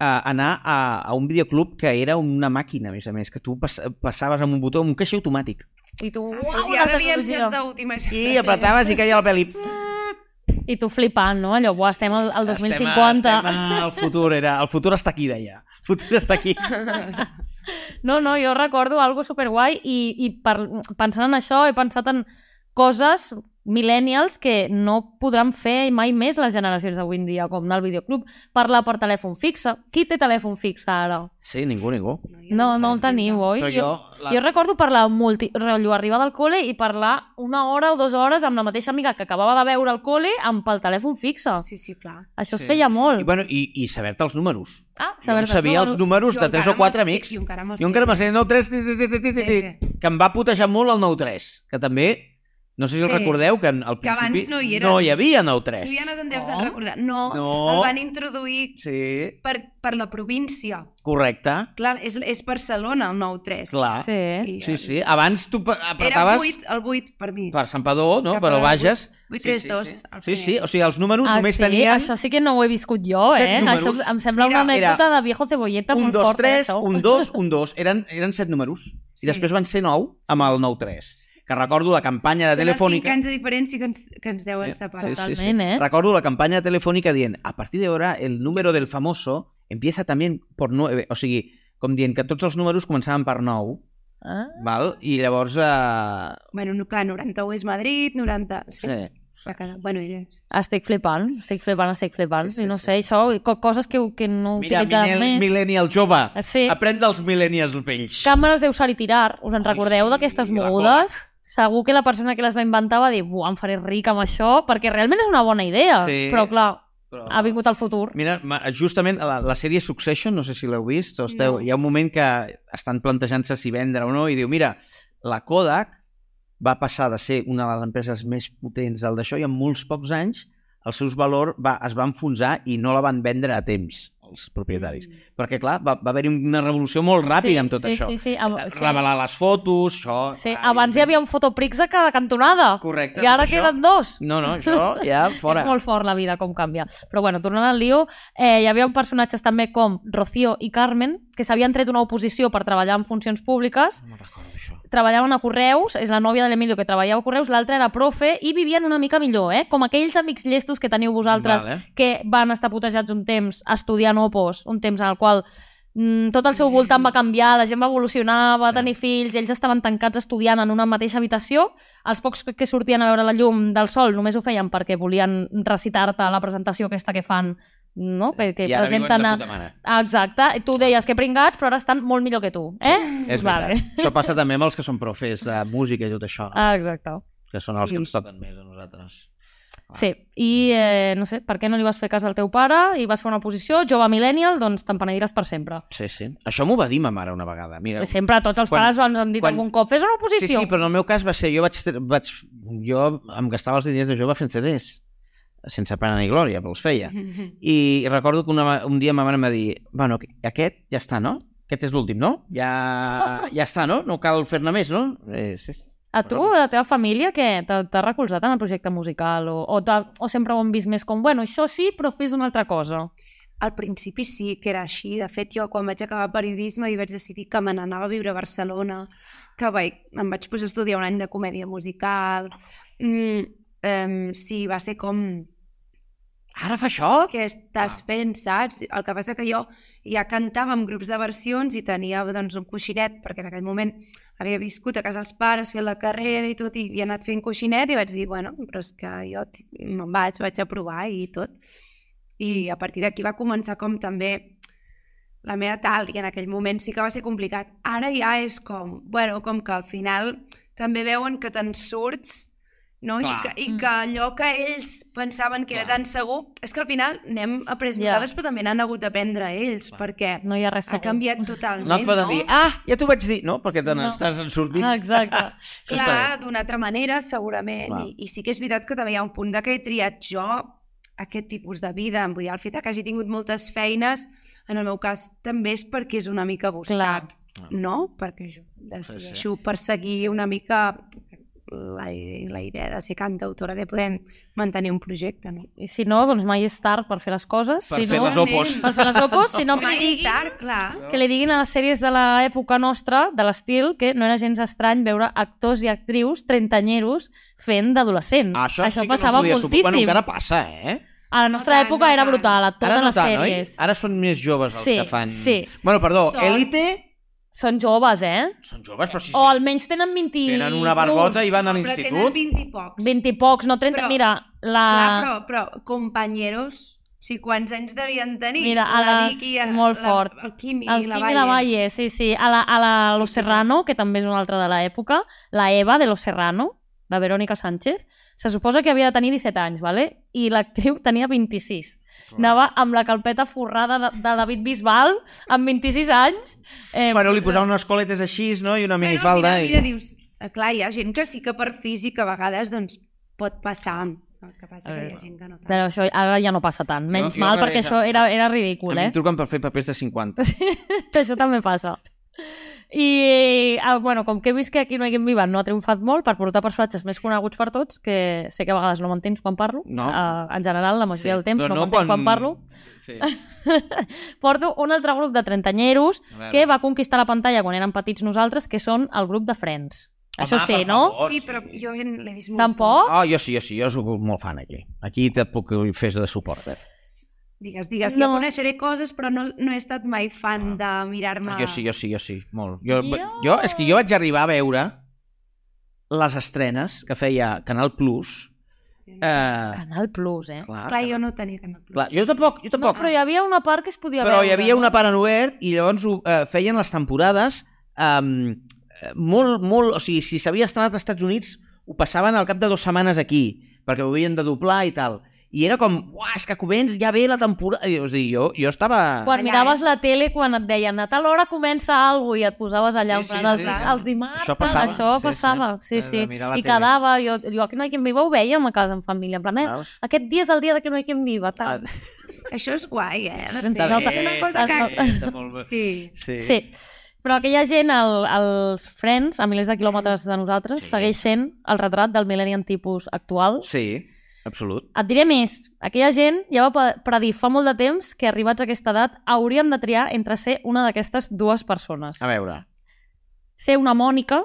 anar a, a un videoclub que era una màquina, a més a més, que tu pas, passaves amb un botó, amb un caixer automàtic,
I tu, uau,
Pues ja
una
devien ser
tecnologia.
els d'última
i apretaves i caia el pèl i...
I tu flipant, no? Allò, buah, estem al, al 2050.
Estem, a- estem al futur, era... El futur està aquí, deia. El futur està aquí.
No, no, jo recordo algo superguai i, i per, pensant en això he pensat en coses millennials que no podran fer mai més les generacions d'avui en dia, com anar al videoclub, parlar per telèfon fixe. Qui té telèfon fixe ara?
Sí, ningú, ningú.
No, no el teniu, oi?
Però jo... La...
Jo recordo parlar multi... rotllo, arribar del col·le i parlar una hora o dues hores amb la mateixa amiga que acabava de veure al col·le amb pel telèfon fixe.
Sí, sí, clar.
Això
Sí.
es feia molt.
I, bueno, i, i saber-te els números.
ah,
Jo em
saber-te'ls,
sabia els números
Jo
de 3
encara
o 4
me'ls sé,
amics.
jo encara me'ls
Jo
sé.
encara me'ls sé. 9-3, ti, ti, ti, ti, ti,
Sí,
ti, que em va putejar molt el 9-3, que també No sé si sí. us
Sí.
recordeu que en- al
Que abans
principi
no hi era.
no hi havia 9-3.
Tu ja no te'n deus
No.
de recordar. No,
No.
el van introduir
Sí,
per, per la província.
correcte.
Clar, és, és Barcelona el 9-3.
Clar. Sí,
Sí.
I-
sí. sí. Abans tu pa-
Era
apretaves...
el 8, el 8 per mi.
per Sant Padó, no?
Cap
per al
a
Bages.
832,
Sí,
al
sí, sí.
primer.
sí, o sigui, els números
Ah,
només
sí?
tenien
Això sí que no ho he viscut jo,
set
eh?
números.
Això em sembla
Mira,
una
era
anècdota de viejo cebolleta
un,
molt
dos,
forta,
tres,
això.
un, dos, un, dos. Eren, eren set números.
eh, Sí.
I després van ser nou amb el 9-3. Que recordo la campanya de
Són els 5
Telefònica...
anys de diferència que ens, que ens deuen separar.
Totalment, eh?
Recordo la campanya de Telefònica dient a partir d'ara el número del famoso empieza también por 9. O sigui, com dient que tots els números començaven per 9,
Ah,
val? i llavors... Eh,
Bueno, no, clar, 91 és Madrid, 90... Sí.
sí.
Va quedar. Bueno, ja és.
estic flipant, estic flipant, estic flipant. Sí, sí, I no sé, això, co coses que, que no
Mira,
utilitzaran
millennial,
més.
millennial jove,
Sí.
aprèn dels millennials vells.
Càmeres d'usar i tirar, us en
Ai,
recordeu
sí,
d'aquestes
la
mogudes? Segur que la persona que les va inventar va dir buah, em faré ric amb això, perquè realment és una bona idea.
Sí. Oh.
Però, clar,
Però-
ha vingut al futur.
Mira, ma- justament a la, la sèrie Succession, no sé si l'heu vist, o esteu,
No.
hi ha un moment que estan plantejant-se si vendre o no, i diu, mira, la Kodak va passar de ser una de les empreses més potents del d'això i en molts pocs anys el seu valor va, es va enfonsar i no la van vendre a temps, els propietaris. Mm. Perquè, clar, va, va haver-hi una revolució molt ràpida
sí,
amb tot
sí,
això. Eh,
Sí, sí, amb, sí.
Revelar les fotos, això...
Sí,
clar,
abans hi havia un fotoprix a cada cantonada.
Correcte,
I
tot
ara
això.
queden dos.
No, no, això ja fora.
És molt fort la vida com canvia. Però bueno, tornant al lío, eh, hi havia personatges també com Rocío i Carmen que s'havien tret una oposició per treballar en funcions públiques.
No me'n recordo, això.
Treballaven a Correus, és la nòvia de l'Emilio que treballava a Correus, l'altra era profe i vivien una mica millor, eh? Com aquells amics llestos que teniu vosaltres
Vale.
que van estar putejats un temps estudiant opos, un temps en el qual mm, tot el seu voltant va canviar, la gent va evolucionar, va
Sí.
tenir fills, ells estaven tancats estudiant en una mateixa habitació, els pocs que- que sortien a veure la llum del sol només ho feien perquè volien recitar-te la presentació aquesta que fan, no? Que, que
I ara viuen de
presenten...
puta mare.
A... Exacte, tu deies que pringats, però ara estan molt millor que tu, eh?
És veritat. Això passa també amb els que són profes de música i tot això, no?
Ah, exacte.
que són els
sí.
que ens toquen més a nosaltres.
Sí, i eh, no sé, per què no li vas fer cas al teu pare i vas fer una posició, jove millennial, doncs te'n penediràs per sempre.
Sí, sí. Això m'ho va dir ma mare una vegada. Mira,
Sempre tots els
Quan-
pares ens han dit
quan-
algun cop, fes una
sí,
oposició.
sí, però en el meu cas va ser, jo vaig, vaig jo em gastava els diners de jove fent CDs, sense pena ni glòria, però els feia.
Mm-hmm.
Mm-hmm.
I recordo que una, un dia ma mare em va dir, bueno, aquest ja està, no? Aquest és l'últim, no? Ja, ja està, no? No cal fer-ne més, no? Eh, sí.
A tu, a la teva família, què? T'ha t'ha recolzat en el projecte musical? O, o, t'ha- o sempre ho han vist més com, bueno, això sí, però fes una altra cosa?
Al principi sí que era així. De fet, jo quan vaig acabar periodisme i vaig decidir que me n'anava a viure a Barcelona, que vaig, em vaig posar a estudiar un any de comèdia musical... Mm, um, sí, va ser com...
Ara fa això?
Què estàs fent, saps? El que passa que jo ja cantava amb grups de versions i tenia doncs, un coixinet, perquè en aquell moment havia viscut a casa dels pares, fent la carrera i tot, i havia anat fent coixinet i vaig dir, bueno, però és que jo t- me'n vaig, vaig a provar i tot. I a partir d'aquí va començar com també la meva tal, i en aquell moment sí que va ser complicat. Ara ja és com, bueno, com que al final també veuen que te'n surts, no? I
Clar.
que, I que allò que ells pensaven que era
Clar.
tan segur... És que al final n'hem après
Ja.
nosaltres, però també n'han hagut d'aprendre ells, perquè
No hi ha res
s'ha
segur.
canviat totalment,
No et poden dir, ah, ja t'ho vaig dir, no? Perquè te
No.
n'estàs no. en sortint.
Ah, exacte.
Això està bé.
Clar, d'una altra manera, segurament.
Clar.
I, I sí que és veritat que també hi ha un punt de que he triat jo aquest tipus de vida. Vull dir, el fet de que hagi tingut moltes feines, en el meu cas també és perquè és una mica buscat, no? Perquè jo decideixo perseguir una mica la, la idea de ser cantautora, de poder mantenir un projecte, no?
I si no, doncs mai és tard per fer les coses.
Per
si
fer
no,
les opos.
Per fer les opos, si no, que li
Mai és
diguin-
tard, clar.
que li diguin a les sèries de l'època nostra, de l'estil, que no era gens estrany veure actors i actrius trentanyeros fent d'adolescent.
Ah, Això, sí que no
passava
podia supor-
moltíssim.
Bueno, encara passa, eh?
A la nostra
No tant,
època
no
era
tant.
brutal, a totes
Ara no
les
tant, oi?
sèries.
Ara són més joves els
Sí,
que fan...
sí.
Bueno, perdó,
Són-
Elite
Són joves, eh?
són joves, però sí, sí.
O almenys tenen 20
Tenen una barbota i van a
Però tenen
l'institut.
20 i pocs.
20 i Ah. pocs, no 30.
Però-
mira, la...
Clar, però, però companyeros, o sigui, quants anys devien tenir?
Mira, a
la
les-
Vicky, a,
molt
la,
fort.
El Quimi,
el
la
Quimi la Valle, sí, sí. A la, a la Los Serrano, que també és una altra de l'època, la Eva de Los Serrano, la Verónica Sánchez, se suposa que havia de tenir 17 anys, ¿vale? i l'actriu tenia 26. Anava amb la calpeta forrada de, de David Bisbal, amb 26 anys. Eh,
Bueno, li posaven unes coletes així, no? I una
Però al
minifalda.
final,
i...
mira, dius, Eh, Clar, hi ha gent que sí que per físic a vegades doncs, pot passar. El que passa
A
que hi
veure.
ha gent que no tant.
Però això ara ja no passa tant. Menys
jo
mal,
ara
perquè
ja-
això era, era
A
ridícul,
mi
eh?
em truquen per fer papers de 50.
això també passa. I, ah, bueno, com que he vist que aquí no hi vivat no ha triomfat molt per portar personatges més coneguts per tots, que sé que a vegades no m'entens quan parlo,
No.
eh, en general la majoria del temps
però
no, m'entenc quan... parlo,
Sí.
porto un altre grup de trentanyeros
A veure.
que va conquistar la pantalla quan érem petits nosaltres, que són el grup de Friends.
Home,
Això sí,
per
no?
favor,
Sí, però jo l'he vist molt
Tampoc?
Oh, jo sí, jo sí, jo soc molt fan aquí. Aquí et puc fer de suport. eh?
Digues, digues,
No.
no. jo coneixeré coses, però no, no he estat mai fan de mirar-me...
Jo Ah. sí, jo sí, jo sí, molt. Jo,
Jo-
jo, és que jo vaig arribar a veure les estrenes que feia Canal Plus. Eh,
Canal Plus, eh?
clar,
Clar, jo no tenia Canal Plus.
clar, jo tampoc, jo
No,
tampoc.
però hi havia una part que es podia
però
veure.
hi havia
no?
una part en obert i llavors ho, eh, feien les temporades um, molt, molt... O sigui, si s'havia estrenat als Estats Units, ho passaven al cap de dues setmanes aquí, perquè ho havien de doblar i tal. I era com, uah, és que comença, ja ve la temporada... I, o sigui, jo, jo estava...
Quan
Allà,
miraves la tele, quan et deien a tal hora comença alguna i et posaves allà
Sí, sí,
sí, sí, els,
sí,
sí.
sí.
els dimarts,
Això
això
passava. Sí,
passava, això
sí.
passava. sí,
De-
sí.
de mirar la
I
tele.
quedava, jo, jo aquí no hi quien viva ho veiem a casa en família, en plan, eh,
Veus?
aquest dia és el dia de que no hi quien viva, tal.
Ah,
Això és guai, eh? De
Està
fet,
bé,
és una cosa
està
que...
bé.
Està molt bé.
Sí.
Sí.
sí. Però aquella gent, el, els friends, a milers de quilòmetres de nosaltres,
Sí.
sí. segueix sent el retrat del millennial tipus actual.
Sí, absolut.
Et diré més, aquella gent ja va pe- predir fa molt de temps que arribats a aquesta edat haurien de triar entre ser una d'aquestes dues persones.
A veure,
Ser una Mònica,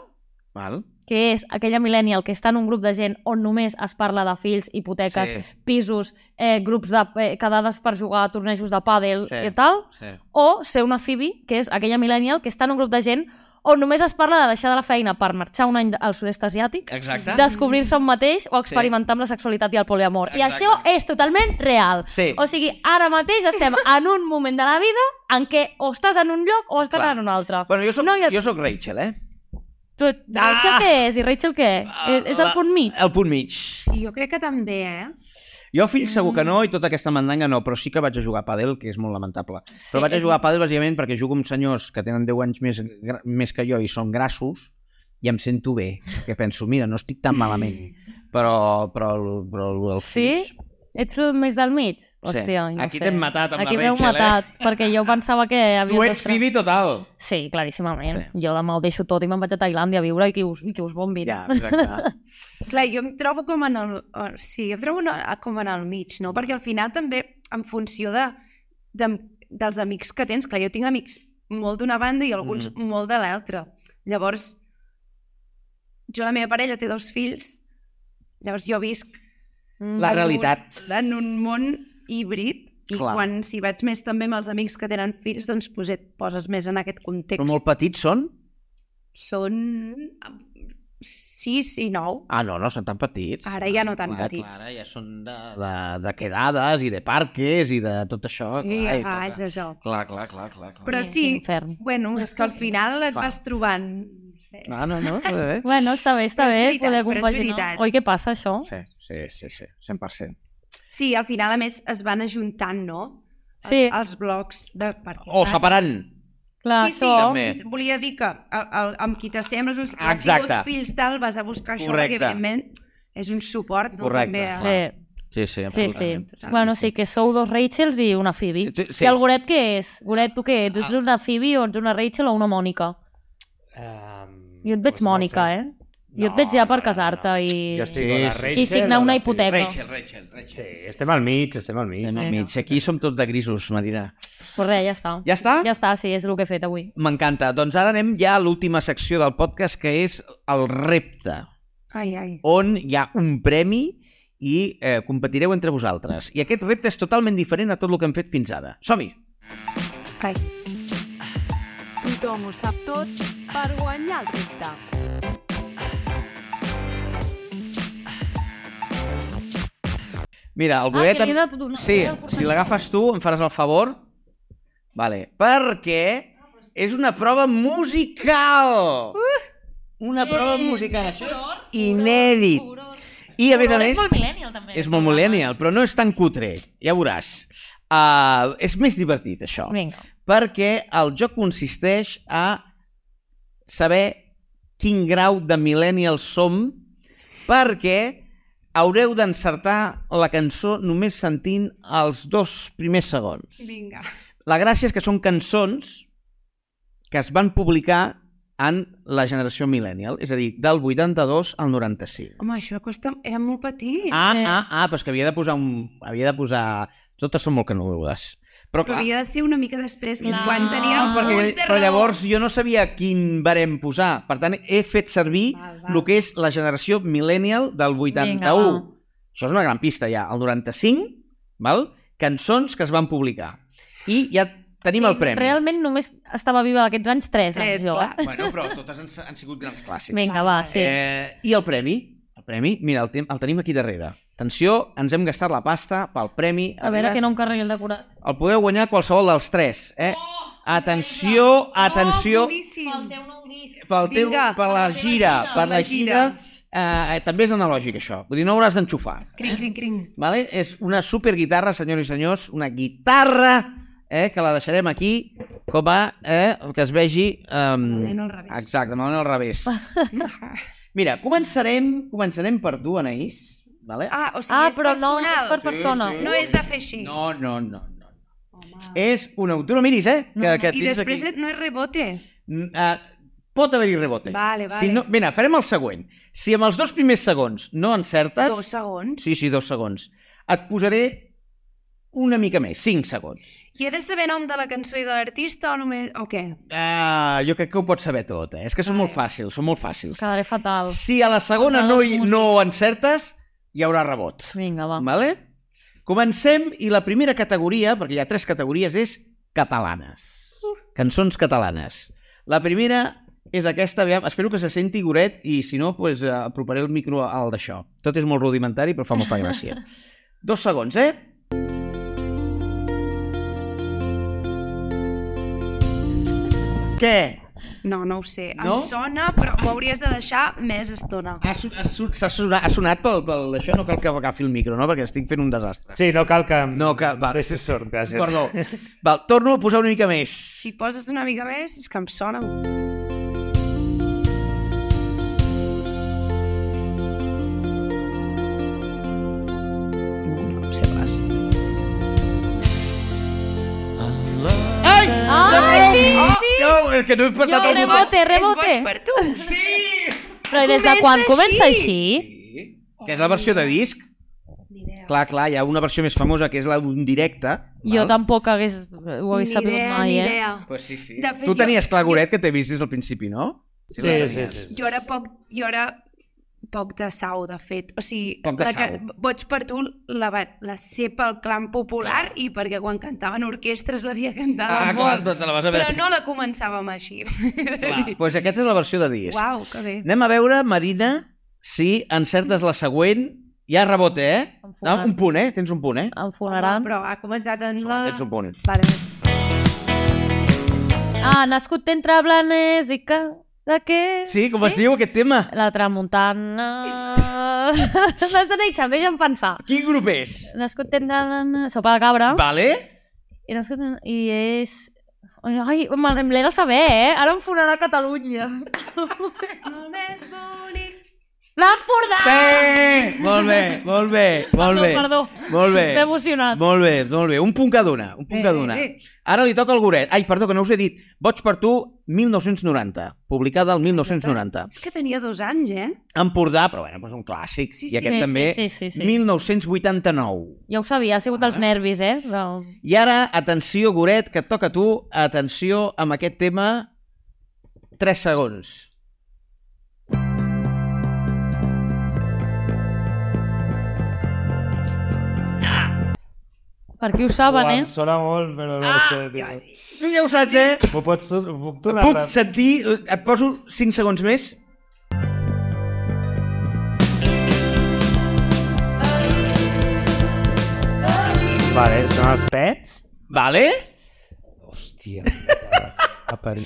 val?
que és aquella millennial que està en un grup de gent on només es parla de fills, hipoteques,
Sí.
sí. pisos, eh, grups de eh, quedades per jugar a tornejos de pàdel
Sí.
sí. i tal,
Sí.
o ser una Phoebe, que és aquella millennial que està en un grup de gent on només es parla de deixar de la feina per marxar un any al sud-est asiàtic,
Exacte.
descobrir-se un mateix o experimentar amb la sexualitat i el poliamor. I
Exacte.
això és totalment real.
Sí.
O sigui, ara mateix estem en un moment de la vida en què o estàs en un lloc o estàs
Clar.
en un altre.
Bueno, jo soc,
No, jo-
jo soc Rachel, eh?
Tu, Rachel
Ah!
què és i Rachel què? és, és el
La-
punt mig.
El punt mig.
I jo crec que també, eh?
Jo fills segur que
Mm.
no i tota aquesta mandanga no, però sí que vaig a jugar a pàdel, que és molt lamentable. però vaig a
és-
jugar a pàdel bàsicament perquè jugo amb senyors que tenen 10 anys més, gra- més que jo i són grassos i em sento bé, que penso, mira, no estic tan malament. Però, però, el- però el, el
Sí?
fills-
Ets el més del mig? Hòstia, no
Aquí
sé.
t'hem matat amb la
Aquí m'heu
Rachel, eh?
matat, perquè jo pensava que havies...
Tu ets
d'estra-
Phoebe total.
Sí, claríssimament.
Sí.
Sí. Jo demà ho deixo tot i me'n vaig a Tailàndia a viure i que us, i que us bombin.
Ja, exacte.
Clar, jo em trobo com en el... o- Sí, jo em trobo en el- com en el mig, no? Perquè al final també, en funció de, de dels amics que tens, clar, jo tinc amics molt d'una banda i alguns mm. molt de l'altra. Llavors, jo la meva parella té dos fills, llavors jo visc
Mm.
La
en un-
realitat.
En un món híbrid, i
Clar.
Clar. quan si vaig més també amb els amics que tenen fills, doncs pues et poses més en aquest context.
Però molt petits són?
Són 6 i 9.
Ah, no, no són tan petits.
Ara ja no tan
clar,
petits.
Clar, ara ja són de, de, de quedades i de parques i de tot això.
Sí,
clar, i
ah,
tot-
ets això.
Clar, clar, clar, clar. clar.
Però
Sí,
sí,
quin infern.
bueno, és que al final et
Clar.
vas trobant... no sé.
No, no, no. eh?
Bueno, està bé, està
Però és
bé
veritat,
poder
però és
compaginar.
veritat.
Oi, què passa, això?
Sí, sí, sí, sí, 100%.
Sí, al final, a més, es van ajuntant, no? Els,
Sí.
els blocs de... Perquè,
Ah.
O separant.
Clar,
sí, sí,
això...
També.
volia dir que el, el, amb qui t'assembles, uns
Exacte.
Exacte. fills, tal, vas a buscar això,
Correcte.
perquè, evidentment, és un suport, no?
Correcte.
També, eh? a-
Sí,
Sí,
sí,
sí, sí.
absolutament.
Bueno, sí, que sou dos Rachels i una Phoebe.
Sí, sí. Ah.
I el Goret què és? Goret, tu què ets? Ets una Phoebe o ets una Rachel o una Mònica?
Um,
Jo et veig Mònica, eh? Jo et veig ja per casar-te i...
Jo estic
Sí,
sí,
sí,
sí,
sí.
I signar una hipoteca.
Rachel, Rachel, Rachel.
Sí, estem al mig, estem al mig.
Anem al
Bueno.
mig. Aquí som tot de grisos, Marina.
Pues res, ja està.
Ja està?
Ja està, sí, és el que he fet avui.
M'encanta. Doncs ara anem ja a l'última secció del podcast, que és el repte,
Ai, ai.
on hi ha un premi i eh, competireu entre vosaltres. I aquest repte és totalment diferent a tot el que hem fet fins ara. Som-hi!
Ai.
Tothom ho sap tot per guanyar el repte.
Mira, el Godet...
Ah, que li he
em-
de donar-
sí,
he de portar
si l'agafes tu, em faràs el favor. Vale. Perquè és una prova musical!
Uh!
Una prova musical. Això és inèdit. I, a més a més,
millennial, també.
és molt millennial, però no és tan cutre. Ja veuràs. Uh, és més divertit, això.
Vinga.
Perquè el joc consisteix a saber quin grau de millennials som perquè haureu d'encertar la cançó només sentint els dos primers segons.
Vinga.
La gràcia és que són cançons que es van publicar en la generació millennial, és a dir, del 82 al 95.
Home, això costa... Era molt petit.
Ah, ah, ah, però és que havia de posar un... Havia de posar... Totes són molt canudes. Però
Però
clar,
havia de ser una mica després, que és
Clar.
quan teníem
perquè,
perquè, de
Ah, però
raó.
llavors jo no sabia quin barem posar. Per tant, he fet servir
Val, val.
el que és la generació millennial del 81.
Vinga, va.
Això és una gran pista ja. El 95, val? cançons que es van publicar. I ja tenim el premi.
Realment només estava viva d'aquests anys 3
Tres,
anys jo.
clar.
Eh?
Bueno, però totes han, han sigut grans clàssics.
Vinga, va, sí.
Eh, I el premi? El premi, mira, el, tem el tenim aquí darrere. Atenció, ens hem gastat la pasta pel premi.
a veure
Arribes-
que no em carregui el decorat.
El podeu guanyar qualsevol dels tres, eh?
Oh,
atenció, atenció,
Oh, boníssim.
nou disc.
pel teu,
Vinga.
per la gira, per la
la
gira,
gira.
eh, també és analògic això, vull dir, no hauràs d'enxufar.
Cring, cring, cring.
Vale? És una superguitarra, senyors i senyors, una guitarra eh, que la deixarem aquí com a eh, que es vegi...
Malament
Eh,
al revés.
exacte, malament al revés. Mira, començarem, començarem per tu, Anaïs. Vale?
Ah, o sigui,
Ah,
és
però no,
personal.
és per persona.
sí.
No és de fer així.
No, no, no. no. És una... Tu no miris, eh? Que, que
I
tens
després
aquí-
no és rebote.
Uh, pot haver-hi rebote.
Vale, vale.
Si no, mira, farem el següent. Si amb els dos primers segons no encertes...
Dos segons.
Sí, sí, dos segons. Et posaré una mica més, cinc segons.
I he de saber nom de la cançó i de l'artista o només... O què?
Uh, jo crec que ho pots saber tot, eh? És que són molt fàcils, són molt fàcils.
Quedaré fatal.
Si a la segona
Amb
no,
les
hi-
músiques.
no ho encertes, hi haurà rebot.
Vinga, va.
Vale? Comencem, i la primera categoria, perquè hi ha tres categories, és catalanes. Cançons catalanes. La primera és aquesta, aviam, espero que se senti goret i si no, pues, eh, aproparé el micro al d'això. Tot és molt rudimentari, però fa molta gràcia. Dos segons, eh? Què?
No, no ho sé.
No?
Em sona, però m'ho hauries de deixar més estona.
Ha, su- ha, su- s'ha sonat, ha sonat pel, pel d'això? No cal que agafi el micro, no? Perquè estic fent un desastre.
Sí, no cal que... em
No, que, va,
Deixis sort, gràcies.
Perdó. Val, torno a posar una mica més.
Si poses una mica més, és que em sona. No, no sé pas.
Ai!
Ah, sí, sí!
No, és que no he portat
Jo
el
rebo-
botó.
Rebote, rebote.
És boig per tu.
Però i des de quan
Comença
comença així?
Sí. Que és la versió de disc. Clar, clar, hi ha una versió més famosa que és la d'un directe.
Jo tampoc hagués, ho hagués
Ni
sabut
idea,
mai,
ni
eh?
idea.
Pues sí, sí.
De fet,
tu
jo-
tenies clar, Goret, que t'he vist des del principi, no?
Sí,
la
sí,
tenies.
sí.
Jo era poc, jo era poc de sau, de fet. O sigui,
Poc de
la que
sau.
Boig per tu la, va- la sé pel clan popular i perquè quan cantaven orquestres l'havia cantada
Ah, clar,
molt.
però te la vas a
Però
veure.
no la començàvem així.
Doncs pues aquesta és la versió de disc.
Uau, que bé.
Anem a veure, Marina, si encertes la següent. Hi ha rebote, eh?
Enfocat.
un punt, eh? Tens un punt, eh?
Em funaran.
Però ha començat en la...
Tens un punt.
Vale.
Ah, nascut entre Blanes i que... De què?
Sí, com es diu aquest tema?
La tramuntana... Vas de néixer, deixa'm pensar.
Quin grup és?
Nascut entre... Sopa de cabra.
Vale?
I, nascut en... I és... Ai, me me l'he de saber, eh? Ara em fonarà Catalunya.
El més bonic.
L'Empordà!
Bé! Molt bé, molt bé, molt bé.
Perdó,
Molt bé.
M'he emocionat.
Molt bé, molt bé. Un punt que dona, un punt
Eh,
que
eh,
dona.
eh.
Ara li toca al Goret. Ai, perdó, que no us he dit. Boig per tu, 1990. Publicada el 1990.
És que tenia dos anys, eh?
Empordà, però bueno, és un clàssic.
Sí,
I
sí.
aquest
Sí,
també,
sí, sí, sí, sí.
1989.
Ja ho sabia, ha sigut
Ah.
els nervis, eh? Però...
I ara, atenció, Goret, que et toca a tu. Atenció amb aquest tema. 3 segons.
Per qui ho saben,
Uau, em
eh?
sona molt, però no ho sé. tio.
Tu ja ho saps, eh?
M'ho pots... M'ho puc donar?
Puc
ràpid?
sentir... Et poso 5 segons més?
Vale, són els pets?
Vale?
Hòstia, puta, a parir.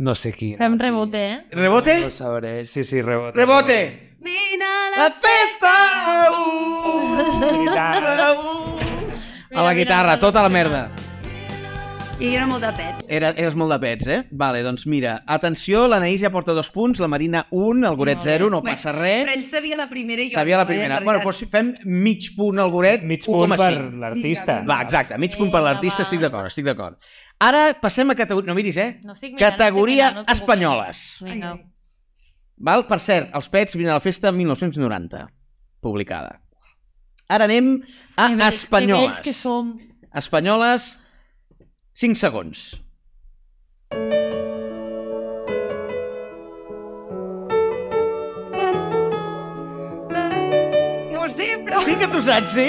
No sé qui.
Fem rebote, eh?
Rebote?
No ho sabré. Sí, sí, rebote.
Rebote!
Vine a la...
La festa! Uh!
Guitarra.
A la guitarra, tota la merda.
I jo era molt de pets.
Era, eres molt de pets, eh? Vale, doncs mira, atenció, l'Anaís ja porta dos punts, la Marina un, el Goret
Molt bé.
zero, no
Bé,
passa
Però
res.
ell sabia la primera i jo
Sabia
no,
la primera.
Eh,
Bueno, doncs fem mig punt al Goret,
Mig punt per
1,5.
l'artista.
Va, exacte, mig punt per
Vinga,
l'artista,
va.
estic d'acord, estic d'acord. Ara passem a categoria... No miris, eh?
No estic mirant,
Categoria
no estic mirant, no et
espanyoles.
preocupis. Vinga.
Ai, ai.
Val? Per cert, els Pets vinen a la festa 1990, publicada. Ara anem a
Que vells, Que
espanyoles.
vells que som.
Espanyoles, 5 segons.
No ho sé, però...
Sí que t'ho saps, sí?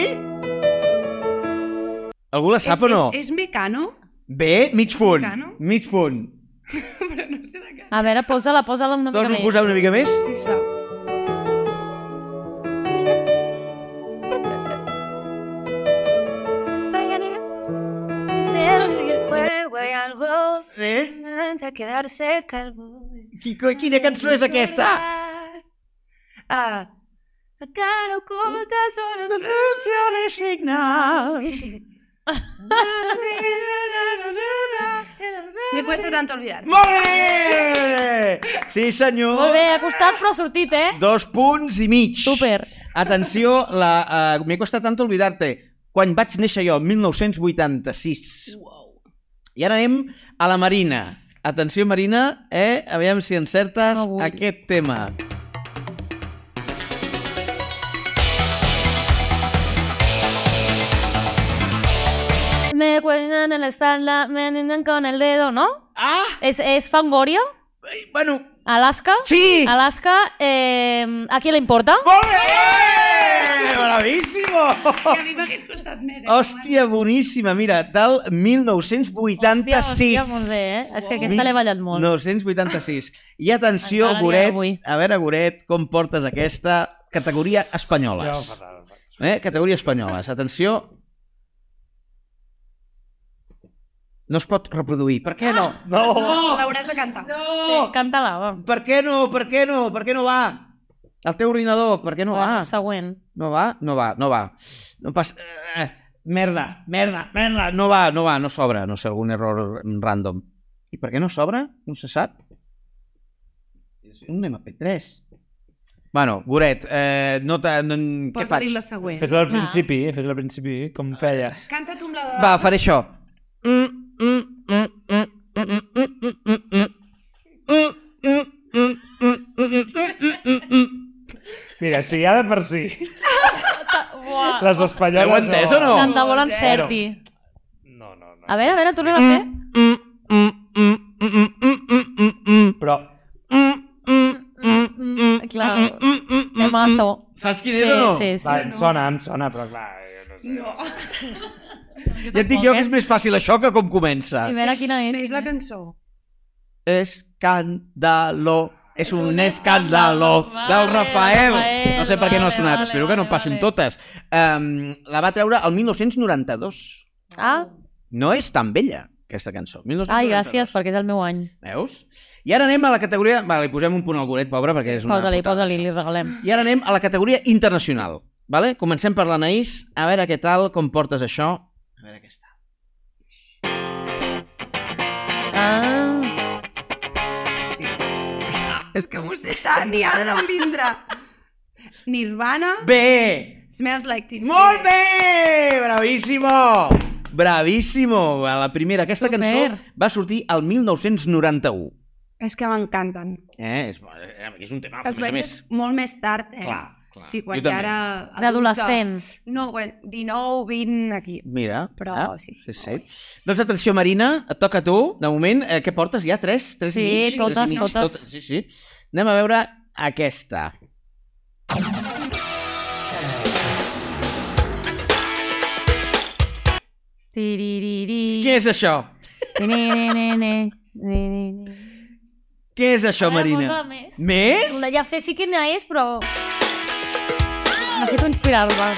Algú la sap o no?
És, és Mecano?
Bé, mig punt.
Mecano?
Mig punt.
però no sé de què.
A veure, posa-la, posa-la una mica
Torno a
més.
posar una mica més?
Ah, Sisplau.
Eh?
de quedarse calvo.
Qui- Quina cançó és aquesta?
Ah, la cara oculta solo... Me cuesta tanto olvidar.
Molt bé! Sí, senyor.
Molt bé, ha costat però ha sortit, eh?
Dos punts i mig.
Súper.
Atenció, la, uh, m'he costat tant oblidar-te. Quan vaig néixer jo, 1986.
Wow.
I ara anem a la Marina. Atenció, Marina, eh? Aviam si encertes
No vull.
aquest tema.
Me cuelgan en la espalda, me niñan con el dedo, ¿no?
Ah!
¿Es, es Fangoria?
Ai, Bueno,
¿Alaska?
sí!
¿Alaska? eh, ¿A quién le importa?
Molt bé! Bravíssimo!
I a mi m'hagués costat més. Eh?
Hòstia, boníssima, mira, del 1986.
Hòstia, hòstia, molt bé, eh? És que aquesta
Mil-
l'he ballat molt.
986. I atenció,
Encara n'hi ha
Goret,
avui.
a veure, Goret, com portes aquesta categoria espanyoles. Eh? Categoria espanyoles. Atenció. No es pot reproduir. Per què no?
No!
L'hauràs de cantar.
Sí, canta-la, va.
Per què no? Per què no? Per què no va? El teu ordinador, per què no va?
Bueno, següent.
No va? No va, no va. No passa... Eh, merda, merda, merda. No va, no va, no s'obre. No sé, algun error random. I per què no s'obre? No se sap. No anem a P3. Bueno, Goret, eh, no te... No, què faig?
Posa-li la següent.
Fes-la al
Va.
principi, eh, fes-la al principi, com feia.
Canta tu amb la...
Va, faré això. Mm, mm, mm, mm, mm, mm, mm, mm, mm. Mm, mm, mm, mm, mm, mm, mm, mm.
Mira, si ja de per si.
Uah.
Les espanyoles...
Heu entès o no?
Tant de bo l'encerti.
No, no, no.
A veure, a veure, torna a fer.
Mm, mm, mm, mm, mm, mm, mm, mm.
Però...
Mm, mm, mm,
Mm, clar,
mm, mm, mm.
temazo.
Saps quin
Sí,
és o no?
sí,
Va,
sí.
em sona, em sona, però clar... jo No. sé.
No,
Ja et dic
¿eh?
jo que és més fàcil això que com comença.
I a veure quina és.
és la cançó.
Escàndalo. És un escàndalo
Vale,
del Rafael.
Rafael,
No sé per què no ha
vale,
sonat,
vale,
espero que no
vale,
passin
vale.
totes. Um, la va treure el 1992.
Ah,
No és tan vella, aquesta cançó. 1992.
ai, gràcies, perquè és el meu any.
Veus? I ara anem a la categoria... Va, li posem un punt al goret, pobre, perquè és una...
Posa-li,
putada,
posa-li,
això.
li regalem.
I ara anem a la categoria internacional. Vale? Comencem per l'Anaís. A veure què tal, com portes això. A veure què està.
Ah,
És que m'ho sé tant i ara no em vindrà. Nirvana,
Bé!
Smells Like Teen
Molt bé! Bravíssimo! Bravíssimo! A la primera. Aquesta
Super.
cançó va sortir al 1991.
És que m'encanten.
Eh? És, és un tema, Ah, a més
Els
a
vaig
més.
des- molt més tard, eh?
Clar, clar.
Sí, quan
Jo
jo
també.
ara... adulta.
d'adolescents.
No, quan 19, 20, aquí.
Mira,
Però,
ah,
sí, sí,
sí. Doncs atenció, Marina, et toca a tu. De moment, eh, què portes? Ja tres? tres i
Sí,
mig?
totes,
Tres i mig,
totes.
Sí, sí. Anem a veure aquesta.
tiririri.
Què és això?
Nenenene. Nenene.
Què és això,
Ara
Marina?
posa-la més.
Més?
Una- Ja sé sí quina és, però... Necessito inspirar-la.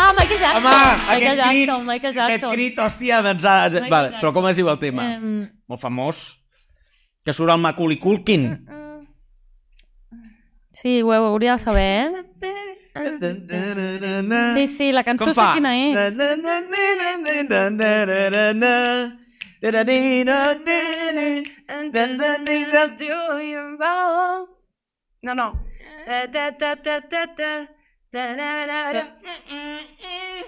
Ah, Michael Jackson.
Home,
Michael
aquest crit,
Jackson, Michael
aquest
Jackson.
crit, hòstia, doncs... ah, ja-
Michael
Vale, però
Jackson. Eh,
com es diu el tema?
Em,
Molt famós. Que surt el Macaulay Culkin.
mm. Sí, ho hauria de saber, eh? Sí, sí, la cançó sé quina és.
No, no. Ta, ta, ta, ta, ta, ta, ta, ra, ra, ra.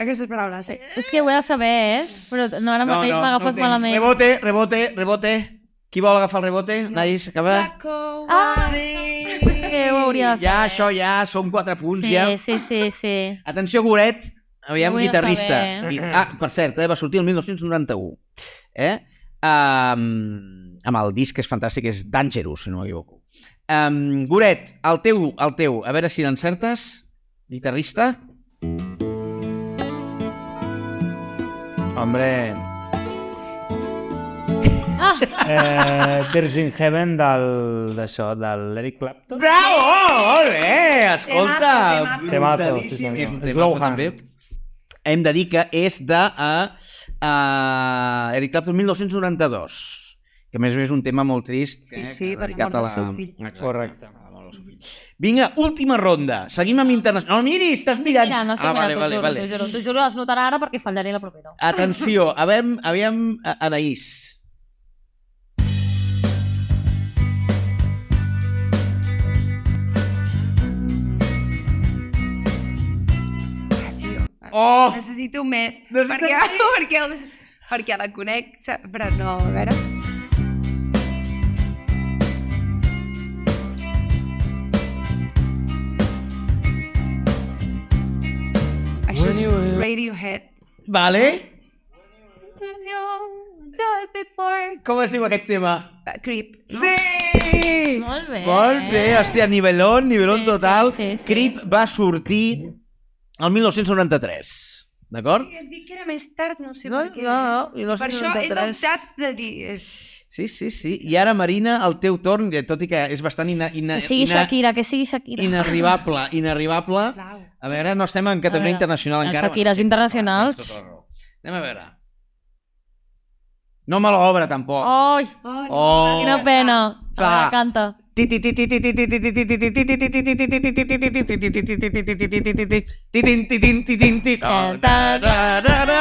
Aquestes paraules, sí.
És que ho he de saber, eh? Però no, ara mateix no, m'agafes
tens.
malament.
Rebote, rebote, rebote. Qui vol agafar el rebote? No. Nadie s'acaba.
Blanco,
Ah!
white.
És que ho hauria de saber.
Ja, això ja, són quatre punts,
Sí,
ja.
sí, sí, sí.
Atenció, Goret, aviam,
Ho vull
guitarrista.
saber.
Gui- Ah, per cert, eh, va sortir el 1991. Eh? Um, amb el disc que és fantàstic, és Dangerous, si no m'equivoco. Um, Goret, el teu, el teu, a veure si l'encertes, guitarrista. Hombre,
Eh, Virgin Heaven del... d'això, de l'Eric Clapton.
Bravo! Oh, Molt bé! Escolta!
Temazo,
temazo.
brutadíssim,
Temazo, sí,
és un
senyor.
temazo
Slow
també. Hem de dir que és de uh, uh, Eric Clapton 1992 que a més a més és un tema molt trist eh,
Sí, sí,
que
per la
dedicat
mort
a
del seu fill.
Exacte,
Correcte.
a la mort del seu fill. Vinga, última ronda. Seguim amb internacional. No, miri, estàs mirant.
Mira, no sé, ah, mira, vale, t'ho juro, vale. t'ho juro, t'ho juro, es notarà ara perquè fallaré la propera.
Atenció, aviam, aviam a- Anaïs.
Ah, tio.
Oh!
Necessito més.
Necessito
Perquè, perquè, els, perquè la conec, sa- però no, a veure. Això és Radiohead.
Vale?
Uh,
Com es diu aquest tema?
Creep. No?
Sí!
Molt bé.
Molt bé, hòstia, nivellón, nivellón
Sí, sí,
total.
sí, sí.
Creep va sortir el 1993, d'acord?
Sí, has dit que era més tard, no sé
No,
per què.
no, no, i no sé
per això he
93.
dubtat de dir... És...
Sí, sí, sí. I ara, Marina, el teu torn, eh, tot i que és bastant ina, ina,
Que sigui
ina,
Shakira, que sigui Shakira.
inarribable, inarribable.
Sisplau.
A veure, no estem en categoria
veure,
internacional
el
encara.
Shakira és
sí,
internacional.
clar, tens tota la raó. Anem a veure. No me l'obre, tampoc.
Ai,
Oh, no,
Oh.
vas
quina
matar.
pena.
Clar.
Ara canta.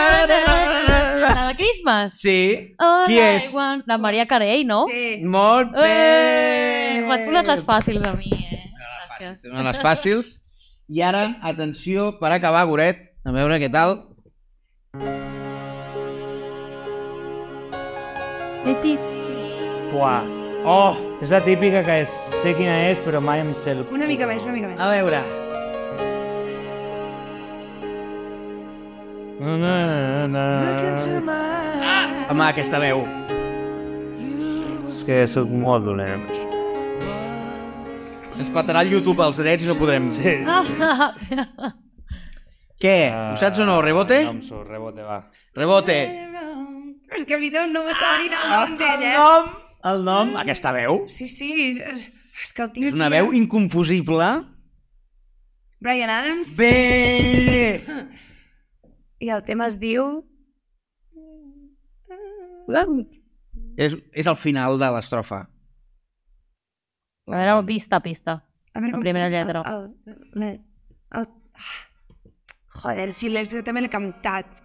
La de Christmas.
Sí.
All
Qui
I
és?
want- La Maria Carey, no?
Oh.
Sí.
Molt bé!
Eh, M'has posat les fàcils a mi, eh? Gràcies.
Una de les fàcils. I ara, atenció, per acabar, Goret, a veure què tal.
Uà. Oh! És la típica que és, sé quina és, però mai em sé el...
Una mica més, eh? una mica més.
A veure.
Na, na, na, na.
Home, aquesta veu.
És que sóc molt dolent amb això.
Ens patarà el YouTube als drets i no podrem.
Sí, sí.
Què? Ho saps o no? Rebote?
No em surt, rebote, va.
Rebote.
Però és que a mi no, no m'estava ni
Ah,
el
Ah,
nom d'ell, eh?
nom! El nom, aquesta veu.
Sí, sí, és, és que el tinc eh?
És una veu inconfusible.
Brian Adams.
Bé!
I el tema es diu...
És, és el final de l'estrofa.
A veure, pista, pista.
A veure,
La primera lletra.
El, el, el, el... ah. Joder, si l'he que també l'he cantat.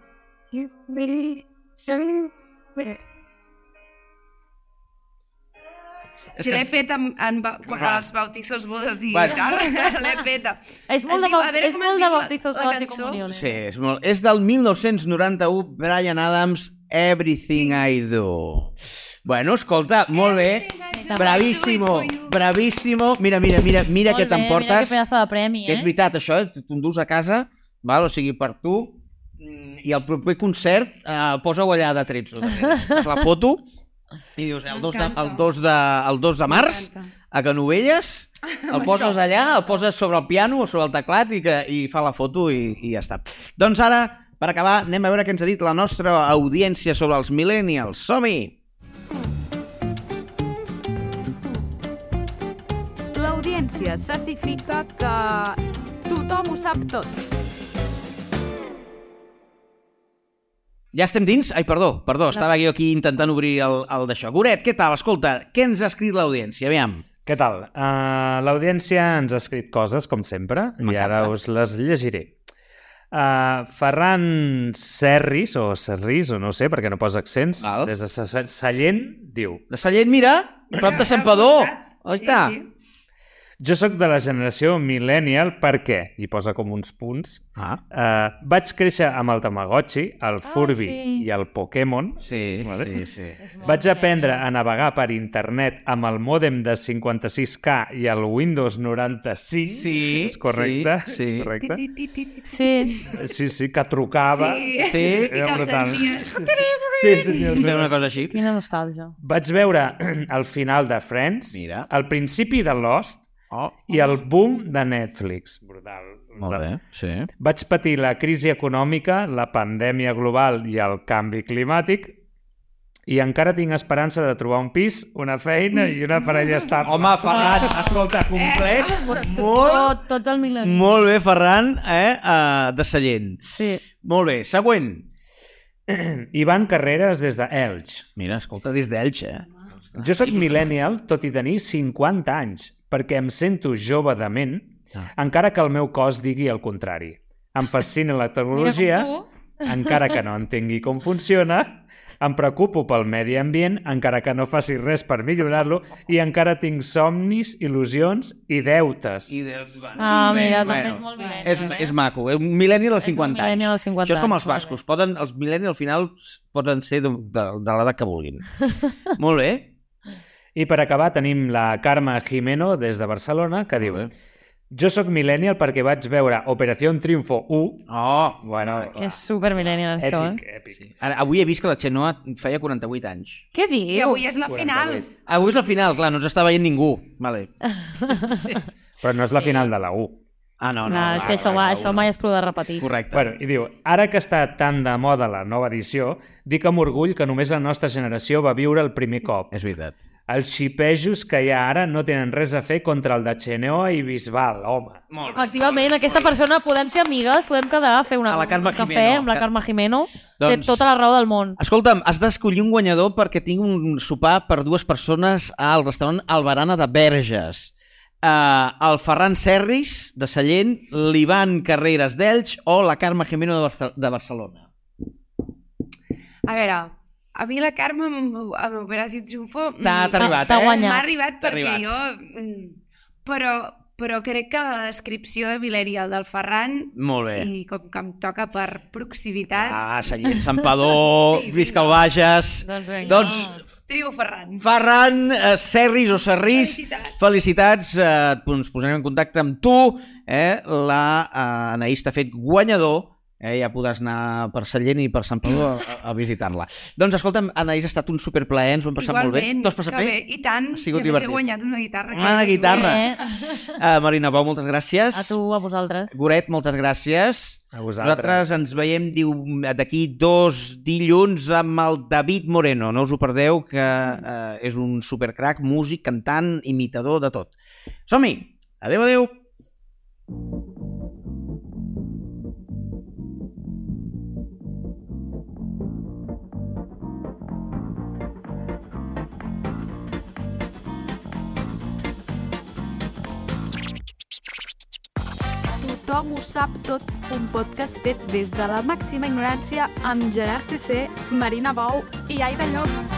Si l'he fet en, en, ba- quan els bautizos bodes i
Bueno.
tal, l'he fet.
És molt de,
diu-
bau-
a veure
és
com es
molt de
diu la-
bautizos
la
bodas i
cançó?
comuniones.
Sí, és, molt... és del 1991, Brian Adams, Everything I Do. Bueno, escolta, molt bé. Bravíssimo, bravíssimo. Mira, mira, mira, mira
Molt
que
bé, Mira que
t'emportes.
pedazo de premi, eh?
Que és veritat, això, eh? t'ho endús a casa, val? o sigui, per tu, mm, i el proper concert eh, posa-ho allà de 13. Fas la foto i dius, eh, el 2 de, el 2 de, el 2 de març, a Canovelles, el poses allà, el poses sobre el piano o sobre el teclat i, que, i fa la foto i, i ja està. Doncs ara, per acabar, anem a veure què ens ha dit la nostra audiència sobre els millennials. Som-hi!
L'audiència certifica que tothom ho sap tot.
Ja estem dins? Ai, perdó, perdó, estava jo aquí intentant obrir el, el d'això. Goret, què tal? Escolta, què ens ha escrit l'audiència? Aviam.
Què tal? Eh, Uh, L'audiència ens ha escrit coses, com sempre, i
M'encanta.
ara us les llegiré. Uh, Ferran Serris, o Serris, o no ho sé, perquè no posa accents,
Val.
des de Sa- Sa- Sallent, diu
De Sallent, mira, prop de Santpedor. Ahí
Sí,
està.
sí.
Jo sóc de la generació millennial perquè, i posa com uns punts,
Ah,
uh, vaig créixer amb el Tamagotchi,
Ah,
el Furby
sí.
i el Pokémon,
sí,
Vale.
sí, sí.
Vaig aprendre a navegar per internet amb el mòdem de 56K i el Windows 95.
Sí,
és correcte?
sí, sí.
És correcte?
Ti, ti, ti, ti, ti.
Sí.
Sí, sí, que trucava.
Sí.
Sí,
Era
I que els
brutal.
envies.
Sí, sí, sí,
fer una cosa així.
Quina nostàlgia.
Vaig veure el final de Friends,
Mira.
el principi de Lost
Oh,
i el boom de Netflix. Brutal.
molt bé, sí.
Vaig patir la crisi econòmica, la pandèmia global i el canvi climàtic i encara tinc esperança de trobar un pis, una feina i una parella estable.
Home, Ferran, escolta, compleix molt,
Tot, Oh, tots el milenari.
molt bé, Ferran, eh, eh, de Sallent.
Sí.
Molt bé, següent.
Ivan Carreras des de Elx.
Mira, escolta, des d'Elx, eh?
Jo sóc millennial, tot i tenir 50 anys, perquè em sento jove de ment,
Ah.
encara que el meu cos digui el contrari. Em fascina la tecnologia,
Mira com tu.
encara que no entengui com funciona, em preocupo pel medi ambient, encara que no faci res per millorar-lo, i encara tinc somnis, il·lusions i deutes.
I de... bueno,
Ah,
bé,
mira, també és molt millennial,
És,
eh?
és maco, és un mil·lenni dels
És un
50 anys.
mil·lenni dels 50
Això és com els
anys, molt bé.
bascos, poden, els mil·lenni al final poden ser de, de, de l'edat que vulguin. molt bé.
I per acabar tenim la Carme Jimeno des de Barcelona, que diu... Jo sóc millennial perquè vaig veure Operació Triunfo 1.
Oh,
Bueno,
Que és supermillennial, això,
èpic,
eh?
èpic.
ara, avui he vist que la Xenoa feia 48 anys.
Què
I avui
dius?
és la final.
Avui és la final, clar, no ens està veient ningú. Vale.
Però no és la final de la U.
Ah, no,
No,
no.
és que això, va, això mai es podrà repetir.
Correcte.
Bueno, i diu, ara que està tan de moda la nova edició, dic amb orgull que només la nostra generació va viure el primer cop.
És veritat.
Els xipejos que hi ha ara no tenen res a fer contra el de Xeneo i Bisbal, home.
Molt bé.
Efectivament, aquesta persona, podem ser amigues, podem quedar a fer una,
A la Carme
un cafè
Jimeno.
amb la Carme Jimeno. Té
Doncs-
tota la raó del món.
Escolta'm, has d'escollir un guanyador perquè tinc un sopar per dues persones al restaurant Albarana de Verges. Uh, el Ferran Serris, de Sallent, l'Ivan Carreras d'Elx o la Carme Jimeno de, Barce de Barcelona.
A veure, a mi la Carme amb, amb Operació Triunfo... mm,
T'ha t'ha
Ah,
arribat,
t'ha
eh?
guanyat.
M'ha arribat
T'ha
perquè
arribat.
jo... mm, Però, però crec que la descripció de Millennial del Ferran
Molt bé.
i com que em toca per proximitat,
Ah, Sallent, Santpedor, sí, visca el Bages...
Doncs vinga.
Doncs,
ah. trio Ferran.
Ferran eh, Serris o Serris,
Felicitats.
felicitats eh, et pon- ens posarem en contacte amb tu, eh, la eh, Anaïs t'ha fet guanyador, eh, ja podràs anar per Sallent i per Sant Pau a, a visitar-la. Doncs escolta'm, Anaïs, ha estat un superplaer, ens ho hem passat molt bé. T'ho has passat
que
bé?
I tant,
Ha sigut
i a més
divertit.
he guanyat una guitarra.
Una
que-
guitarra.
Eh,
Eh, Marina Bau, moltes gràcies.
a tu, a vosaltres.
Goret, moltes gràcies.
A vosaltres.
Nosaltres ens veiem diu- d'aquí dos dilluns amb el David Moreno. No us ho perdeu, que eh, és un supercrac, músic, cantant, imitador de tot. Som-hi! Adéu, adéu!
Tothom ho sap tot, un podcast fet des de la màxima ignorància amb Gerard CC, Marina Bou i Aida Llop.